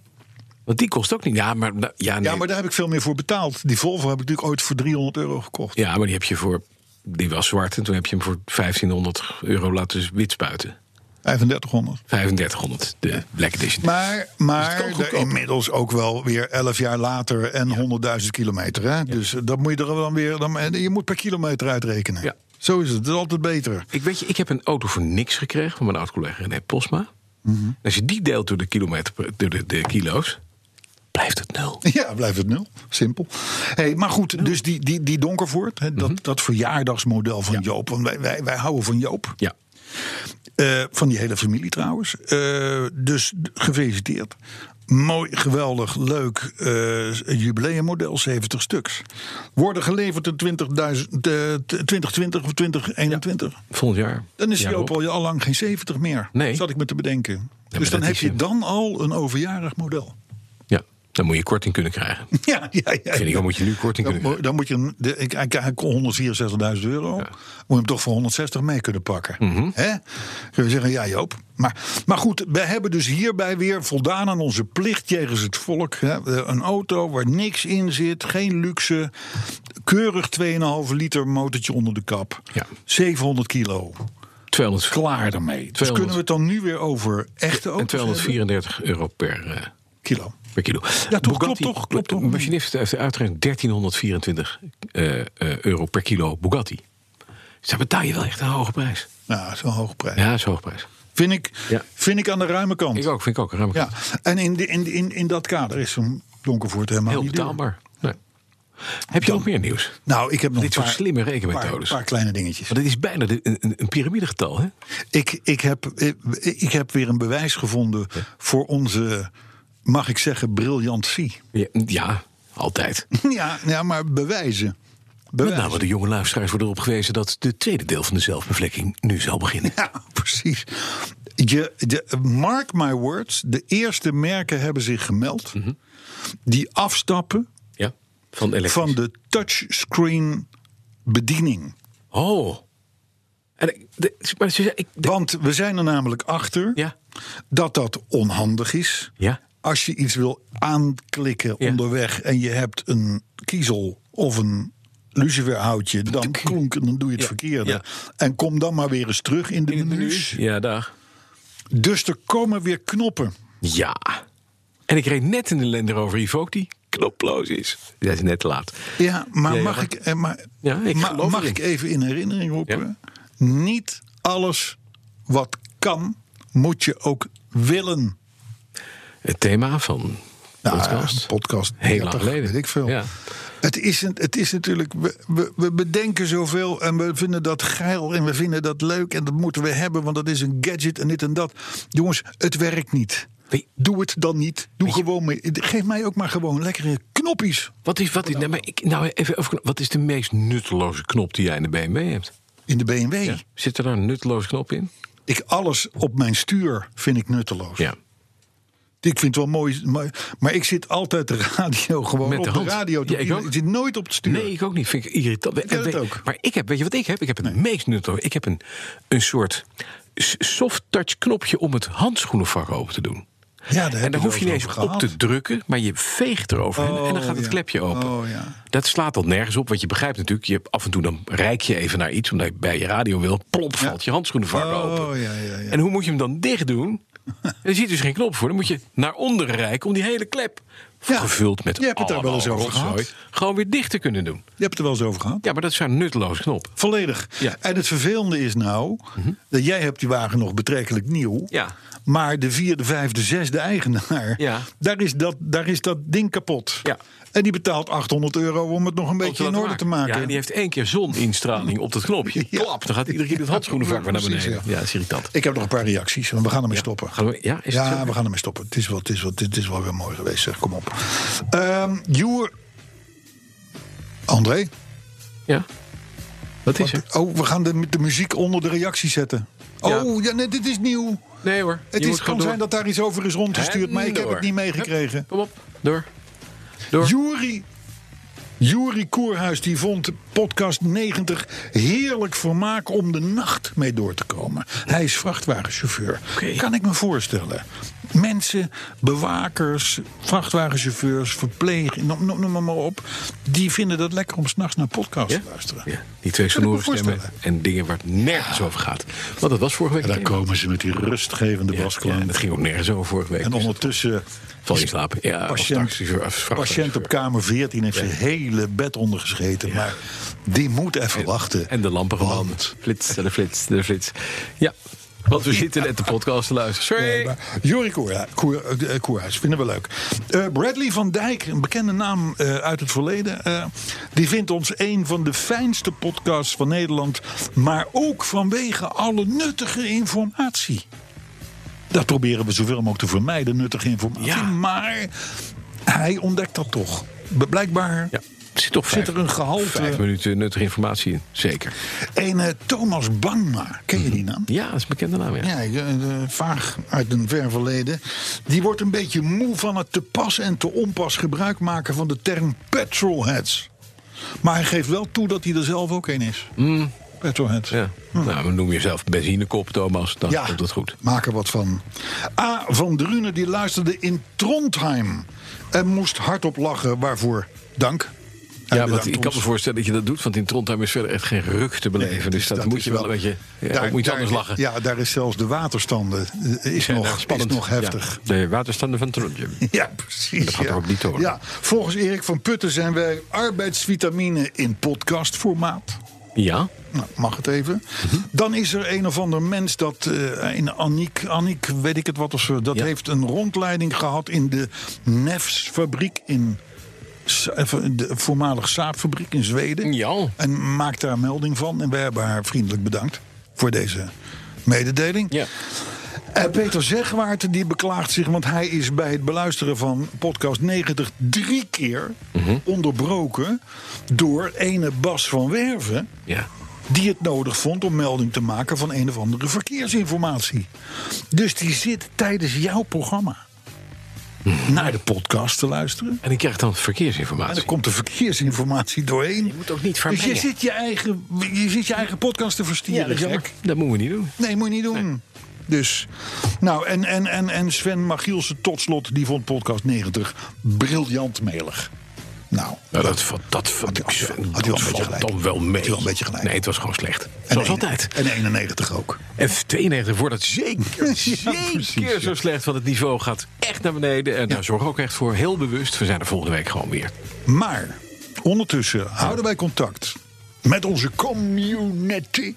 Speaker 3: Want die kost ook niet. Ja, maar, nou, ja, nee.
Speaker 2: Ja, maar daar heb ik veel meer voor betaald. Die Volvo heb ik natuurlijk ooit voor 300 euro gekocht.
Speaker 3: Ja, maar die heb je voor. Die was zwart en toen heb je hem voor 1500 euro laten wit spuiten.
Speaker 2: 3500.
Speaker 3: 3500, de Black Edition.
Speaker 2: Maar, maar
Speaker 3: Dus kan
Speaker 2: er
Speaker 3: goedkoper.
Speaker 2: inmiddels ook wel weer 11 jaar later en 100.000 kilometer. Hè? Dus eh, dat moet je er dan weer. Dan, en je moet per kilometer uitrekenen.
Speaker 3: Ja.
Speaker 2: Zo is het. Dat is altijd beter.
Speaker 3: Ik weet je, ik heb een auto voor niks gekregen van mijn oud-collega René Posma.
Speaker 2: Mhm.
Speaker 3: En Als je die deelt door de, kilometer, per- door de, de kilo's, blijft het nul.
Speaker 2: Ja, blijft het nul. Simpel. Hey, maar goed, dus die, die, die Donkervoort, hè,
Speaker 3: Mhm.
Speaker 2: dat, dat verjaardagsmodel van Joop. Want wij, wij, wij houden van Joop.
Speaker 3: Ja.
Speaker 2: Eh, van die hele familie trouwens. Eh, dus d- gefeliciteerd. Mooi, geweldig, leuk eh jubileummodel, 70 stuks. Worden geleverd in 20.000, eh, t- 2020 of 2021.
Speaker 3: Volgend jaar.
Speaker 2: Dan is
Speaker 3: Ja,
Speaker 2: die ook
Speaker 3: Rob.
Speaker 2: al al lang geen 70 meer.
Speaker 3: Nee.
Speaker 2: Zat ik me te bedenken. dus
Speaker 3: dat
Speaker 2: dan heb
Speaker 3: is
Speaker 2: je
Speaker 3: een-
Speaker 2: dan al een overjarig model.
Speaker 3: Ja, dan moet je korting kunnen krijgen.
Speaker 2: Ja, ja, ja.
Speaker 3: Vind ik, dan moet je nu korting
Speaker 2: Dan, mo-
Speaker 3: kunnen krijgen.
Speaker 2: dan moet je hem, de, ik, ik, ik- 164.000 euro, moet je hem toch voor 160 mee kunnen pakken.
Speaker 3: Mhm.
Speaker 2: Hè? Kun je zeggen, ja Joop. Maar, maar goed, we hebben dus hierbij weer voldaan aan onze plicht jegens het volk. Hè? Een auto waar niks in zit, geen luxe, keurig 2,5 liter motortje onder de kap.
Speaker 3: Ja.
Speaker 2: 700 kilo.
Speaker 3: 200,
Speaker 2: Klaar daarmee. Dus
Speaker 3: 200.
Speaker 2: kunnen we het dan nu weer over echte
Speaker 3: en
Speaker 2: auto's
Speaker 3: 234 euro per, eh,
Speaker 2: hebben? kilo.
Speaker 3: per kilo.
Speaker 2: Ja, toch, klopt toch, klopt toch.
Speaker 3: De machinist heeft uitgerekend 1324 eh, eh, euro per kilo Bugatti. Dus daar betaal je wel echt een hoge prijs.
Speaker 2: Nou, zo'n hoge prijs.
Speaker 3: Ja, dat is een hoge prijs.
Speaker 2: Vind, ik,
Speaker 3: Ja.
Speaker 2: vind ik aan de ruime kant.
Speaker 3: Ik ook, vind ik ook. Ruim
Speaker 2: Ja. En in, de, in, in, in dat kader is zo'n Donkervoort helemaal
Speaker 3: Heel
Speaker 2: niet duur.
Speaker 3: betaalbaar. Nee. Heb je nog meer nieuws?
Speaker 2: Nou, ik heb nog
Speaker 3: Dit
Speaker 2: een
Speaker 3: soort
Speaker 2: paar,
Speaker 3: slimme
Speaker 2: paar,
Speaker 3: rekenmethodes.
Speaker 2: paar kleine dingetjes.
Speaker 3: Want het is bijna de- een, een, een piramidegetal, hè?
Speaker 2: Ik, ik, heb, ik, ik heb weer een bewijs gevonden voor onze, mag ik zeggen, briljantie.
Speaker 3: Ja, ja, altijd.
Speaker 2: Ja, ja maar bewijzen.
Speaker 3: Met
Speaker 2: Bewijzen.
Speaker 3: name de jonge luisteraars worden erop gewezen dat de tweede deel van de zelfbevlekking nu zal beginnen.
Speaker 2: Ja, precies. Je, de, mark my words, de eerste merken hebben zich gemeld.
Speaker 3: Mhm.
Speaker 2: Die afstappen
Speaker 3: Ja, van elektrisch.
Speaker 2: van de touchscreen bediening.
Speaker 3: Oh. En, ik- de, maar ze zei, ik, de-
Speaker 2: Want we zijn er namelijk achter
Speaker 3: ja,
Speaker 2: dat dat onhandig is.
Speaker 3: ja,
Speaker 2: Als je iets wil aanklikken
Speaker 3: Ja.
Speaker 2: onderweg en je hebt een kiezel of een luciferhoutje, dan klonk en dan doe je het verkeerde.
Speaker 3: ja.
Speaker 2: En kom dan maar weer eens terug in de menus.
Speaker 3: ja, dag.
Speaker 2: Dus er komen weer knoppen.
Speaker 3: Ja. En ik reed net in de Land over Evoque die knoploos is. Dat is net te laat.
Speaker 2: Ja, maar
Speaker 3: Ja, ja,
Speaker 2: mag
Speaker 3: maar-
Speaker 2: ik, eh, maar,
Speaker 3: Ja, ik
Speaker 2: ma-
Speaker 3: geloof
Speaker 2: mag
Speaker 3: erin.
Speaker 2: ik even in herinnering roepen? Niet alles wat kan, moet je ook willen.
Speaker 3: Het thema van de
Speaker 2: Nou,
Speaker 3: podcast.
Speaker 2: een podcast.
Speaker 3: Heel lang
Speaker 2: 30,
Speaker 3: geleden.
Speaker 2: Weet ik veel.
Speaker 3: Ja.
Speaker 2: Het, is, een- het is natuurlijk. We, we, we bedenken zoveel en we vinden dat geil en we vinden dat leuk en dat moeten we hebben, want dat is een gadget en dit en dat. Jongens, het werkt niet.
Speaker 3: Nee.
Speaker 2: Doe het dan niet. Doe gewoon mee. Geef mij ook maar gewoon lekkere knoppies.
Speaker 3: Wat is, wat is, nee, maar ik, nou, even, over- wat is de meest nutteloze knop die jij in de BMW hebt?
Speaker 2: In de BMW.
Speaker 3: Zit er daar een nutteloze knop in?
Speaker 2: Ik, alles op mijn stuur vind ik nutteloos.
Speaker 3: Ja.
Speaker 2: Ik vind het wel mooi, maar, maar ik zit altijd de radio gewoon
Speaker 3: Met
Speaker 2: op
Speaker 3: de
Speaker 2: de,
Speaker 3: hand.
Speaker 2: radio. te
Speaker 3: Ja, ik
Speaker 2: doen.
Speaker 3: ook.
Speaker 2: zit nooit op het stuur.
Speaker 3: Nee, ik ook niet. Vind ik irritant.
Speaker 2: ken het
Speaker 3: En weet-
Speaker 2: ook.
Speaker 3: Maar ik heb, weet je wat ik heb? Ik heb het meest nutteloze. Ik heb een, een soort s- soft touch knopje om het handschoenenvak open te doen.
Speaker 2: Ja, daar
Speaker 3: en dan hoef je niet eens
Speaker 2: gehad.
Speaker 3: op te drukken, maar je veegt eroverheen en dan
Speaker 2: Oh,
Speaker 3: gaat het
Speaker 2: ja.
Speaker 3: klepje open.
Speaker 2: Oh, ja.
Speaker 3: Dat slaat al nergens op, want je begrijpt natuurlijk, je, hebt- af en toe dan reik je even naar iets, omdat je bij je radio wil, plop valt je handschoenenvak
Speaker 2: Oh,
Speaker 3: open.
Speaker 2: ja, ja, ja.
Speaker 3: En hoe moet je hem dan dicht doen? Er zit dus geen knop voor, dan moet je naar onderen reiken om die hele klep,
Speaker 2: Ja.
Speaker 3: gevuld met
Speaker 2: Je hebt het daar wel eens
Speaker 3: allemaal
Speaker 2: over
Speaker 3: rotzooi,
Speaker 2: gehad.
Speaker 3: gewoon weer dicht te kunnen doen.
Speaker 2: Je hebt het er wel eens over gehad.
Speaker 3: Ja, maar dat is een nutteloze knop.
Speaker 2: Volledig.
Speaker 3: Ja. Mhm.
Speaker 2: En het vervelende is nou, dat jij hebt die wagen nog betrekkelijk nieuw.
Speaker 3: Ja.
Speaker 2: Maar de vierde, vijfde, zesde eigenaar,
Speaker 3: Ja.
Speaker 2: daar, is dat, daar is dat ding kapot.
Speaker 3: Ja.
Speaker 2: En die betaalt 800 euro om het nog een beetje
Speaker 3: Om
Speaker 2: in
Speaker 3: te
Speaker 2: orde
Speaker 3: laten
Speaker 2: te maken.
Speaker 3: Ja, en die heeft één keer zoninstraling op dat knopje.
Speaker 2: Ja.
Speaker 3: Klap, dan gaat iedere keer het handschoenenvak weer naar
Speaker 2: Precies,
Speaker 3: beneden.
Speaker 2: ja.
Speaker 3: Ja, dat is irritant.
Speaker 2: Ik heb nog een paar reacties, want we gaan ermee stoppen.
Speaker 3: Gaan we- ja, is het
Speaker 2: ja,
Speaker 3: zo?
Speaker 2: we gaan ermee stoppen. Het is wel, het is wel, dit is wel weer mooi geweest, zeg. Kom op. Ehm Joer. André.
Speaker 3: Ja. Wat is er?
Speaker 2: Oh, we gaan de, de muziek onder de reactie zetten.
Speaker 3: Ja.
Speaker 2: Oh, ja, nee, dit is nieuw.
Speaker 3: Nee hoor.
Speaker 2: Het is, kan zijn dat daar iets over is rondgestuurd, maar ik heb het niet meegekregen.
Speaker 3: Kom op, door. Door.
Speaker 2: Jury. Jury Koerhuis die vond podcast 90 heerlijk vermaak om de nacht mee door te komen. Hij is vrachtwagenchauffeur.
Speaker 3: Oké.
Speaker 2: Kan ik me voorstellen. Mensen, bewakers, vrachtwagenchauffeurs, verpleeg, noem, noem- noem maar op. Die vinden dat lekker om s'nachts naar podcasts
Speaker 3: Ja?
Speaker 2: te luisteren.
Speaker 3: Ja, die twee
Speaker 2: Kan ik me
Speaker 3: sonoren stemmen en dingen waar het nergens over gaat. Want dat was vorige week.
Speaker 2: En daar
Speaker 3: het thema.
Speaker 2: komen ze met die rustgevende
Speaker 3: Ja,
Speaker 2: basklank.
Speaker 3: ja, dat ging ook nergens over vorige week.
Speaker 2: en
Speaker 3: Dus
Speaker 2: ondertussen
Speaker 3: val je in slaap. Ja, of
Speaker 2: patiënt,
Speaker 3: taxi- of vrachtwagen-
Speaker 2: patiënt op kamer 14 heeft zijn hele bed ondergescheten. Maar die moet even wachten.
Speaker 3: En de lampen gaan.
Speaker 2: Want-
Speaker 3: Flits, de flits, de flits. Ja, want we zitten net de podcast te luisteren. Sorry.
Speaker 2: Nee, maar Jorik Koerha- Koer- eh, Koerhuis, vinden we leuk. Eh, Bradley van Dijk, een bekende naam eh, uit het verleden. eh, die vindt ons een van de fijnste podcasts van Nederland. Maar ook vanwege alle nuttige informatie. Dat proberen we zoveel mogelijk te vermijden, nuttige informatie.
Speaker 3: Ja.
Speaker 2: Maar hij ontdekt dat toch. B- Blijkbaar
Speaker 3: Ja, er zit toch
Speaker 2: zit
Speaker 3: vijf-
Speaker 2: er een
Speaker 3: Vijf
Speaker 2: gehalte.
Speaker 3: minuten nuttige informatie in, zeker.
Speaker 2: Een eh, Thomas Bangma, ken je die naam?
Speaker 3: Ja, dat is een bekende naam, ja.
Speaker 2: Ja, eh, eh, vaag uit een ver verleden. Die wordt een beetje moe van het te pas en te onpas gebruik maken van de term petrolheads. Maar hij geeft wel toe dat hij er zelf ook een is. Petrolheads.
Speaker 3: Mm. Ja. Nou, dan noem jezelf benzinekop, Thomas. Dan
Speaker 2: Hm. Ja,
Speaker 3: komt dat goed.
Speaker 2: maak er wat van. A. van Drunen die luisterde in Trondheim. En moest hardop lachen, waarvoor dank.
Speaker 3: Ja, want
Speaker 2: bedankt
Speaker 3: ik kan
Speaker 2: ons.
Speaker 3: me voorstellen dat je dat doet, want in Trondheim is verder echt geen ruk te beleven.
Speaker 2: Nee,
Speaker 3: dus dat,
Speaker 2: dat
Speaker 3: moet
Speaker 2: is
Speaker 3: je wel
Speaker 2: wel-
Speaker 3: een beetje. Ja, ook moet je anders lachen.
Speaker 2: Ja, daar is zelfs de waterstanden eh, is
Speaker 3: Zijn
Speaker 2: nog,
Speaker 3: daar
Speaker 2: is nog
Speaker 3: Ja.
Speaker 2: heftig.
Speaker 3: De waterstanden van Trondheim.
Speaker 2: Ja, precies.
Speaker 3: Dat gaat
Speaker 2: ja.
Speaker 3: er ook niet door.
Speaker 2: Ja, volgens Erik van Putten zijn wij arbeidsvitamine in podcastformaat.
Speaker 3: Ja,
Speaker 2: Nou, mag het even.
Speaker 3: Mhm.
Speaker 2: Dan is er een of ander mens dat eh in Aniek, Aniek, weet ik het wat of zo, dat
Speaker 3: Ja.
Speaker 2: heeft een rondleiding gehad in de Nefs-fabriek in Sa- eh, de voormalig Saab-fabriek in Zweden.
Speaker 3: Ja.
Speaker 2: En maakt daar melding van. En wij hebben haar vriendelijk bedankt voor deze mededeling.
Speaker 3: ja.
Speaker 2: En Eh, Peter Zegwaarten die beklaagt zich, want hij is bij het beluisteren van podcast 90 drie keer onderbroken door ene Bas van Werven
Speaker 3: ja.
Speaker 2: die het nodig vond om melding te maken van een of andere verkeersinformatie. Dus die zit tijdens jouw programma naar de podcast te luisteren.
Speaker 3: En ik krijg dan
Speaker 2: En
Speaker 3: verkeersinformatie.
Speaker 2: dan komt de verkeersinformatie doorheen. Je
Speaker 3: moet ook niet
Speaker 2: Dus je
Speaker 3: vermengen.
Speaker 2: zit je eigen, je zit je eigen podcast te verstieren.
Speaker 3: Ja, dat is
Speaker 2: gek.
Speaker 3: jammer. Dat moeten we niet doen.
Speaker 2: Nee, moet je niet doen. Dus, nou, en, en, en, en Sven Magielsen tot slot, die vond podcast 90 briljant melig. Nou,
Speaker 3: Nou, dat valt dat, valt-
Speaker 2: Had hij- had hij wel een
Speaker 3: dat
Speaker 2: beetje
Speaker 3: valt
Speaker 2: gelijk.
Speaker 3: dan wel mee.
Speaker 2: Had hij wel een beetje gelijk.
Speaker 3: Nee, het was gewoon slecht.
Speaker 2: en
Speaker 3: Zoals
Speaker 2: een-
Speaker 3: altijd.
Speaker 2: En 91 ook.
Speaker 3: F92 wordt het zeker, zeker
Speaker 2: precies, ja.
Speaker 3: zo slecht. Want het niveau gaat echt naar beneden. En daar zorg ik ook echt voor. Heel bewust. We zijn er volgende week gewoon weer.
Speaker 2: Maar ondertussen houden wij contact met onze community.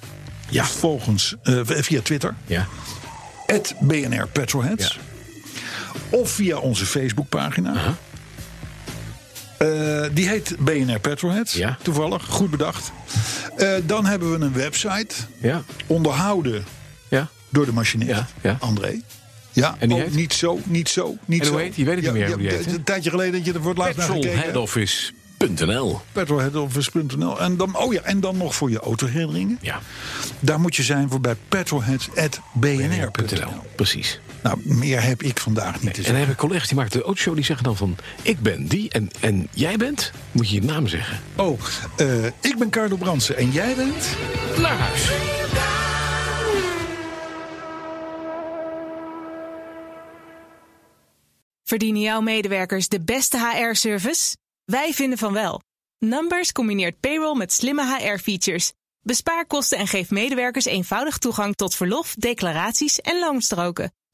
Speaker 2: Ja. Volgens, eh, via Twitter.
Speaker 3: Ja.
Speaker 2: Het BNR Petrolheads. Of via onze Facebookpagina. Eh, die heet BNR Petrolheads.
Speaker 3: Ja.
Speaker 2: Toevallig, goed bedacht. Eh, dan hebben we een website.
Speaker 3: Ja.
Speaker 2: Onderhouden
Speaker 3: Ja.
Speaker 2: door de machinist.
Speaker 3: Ja, ja.
Speaker 2: André. Ja,
Speaker 3: En die
Speaker 2: oh,
Speaker 3: heet?
Speaker 2: niet zo, niet zo, niet
Speaker 3: En
Speaker 2: zo.
Speaker 3: hoe heet die? Weet ik niet meer hoe die heet, hè?
Speaker 2: Een tijdje geleden dat je er voor het laatst naar gekeken hebt
Speaker 3: Petrolheadoffice.nl
Speaker 2: petrolheadoffice.nl. En dan, oh ja, en dan nog voor je autoherinneringen.
Speaker 3: Ja.
Speaker 2: Daar moet je zijn voor bij petrolheads.bnr.nl.
Speaker 3: .nl. Precies.
Speaker 2: Nou, meer heb ik vandaag niet te
Speaker 3: En dan
Speaker 2: zeggen.
Speaker 3: hebben collega's die maken de autoshow. Die zeggen dan van, ik ben die en, en jij bent. Moet je je naam zeggen.
Speaker 2: Oh, eh, ik ben Carlo Brandsen en jij bent...
Speaker 3: Naar huis.
Speaker 5: Verdienen jouw medewerkers de beste HR-service? Wij vinden van wel. Numbers combineert payroll met slimme HR-features. Bespaar kosten en geef medewerkers eenvoudig toegang tot verlof, declaraties en loonstroken.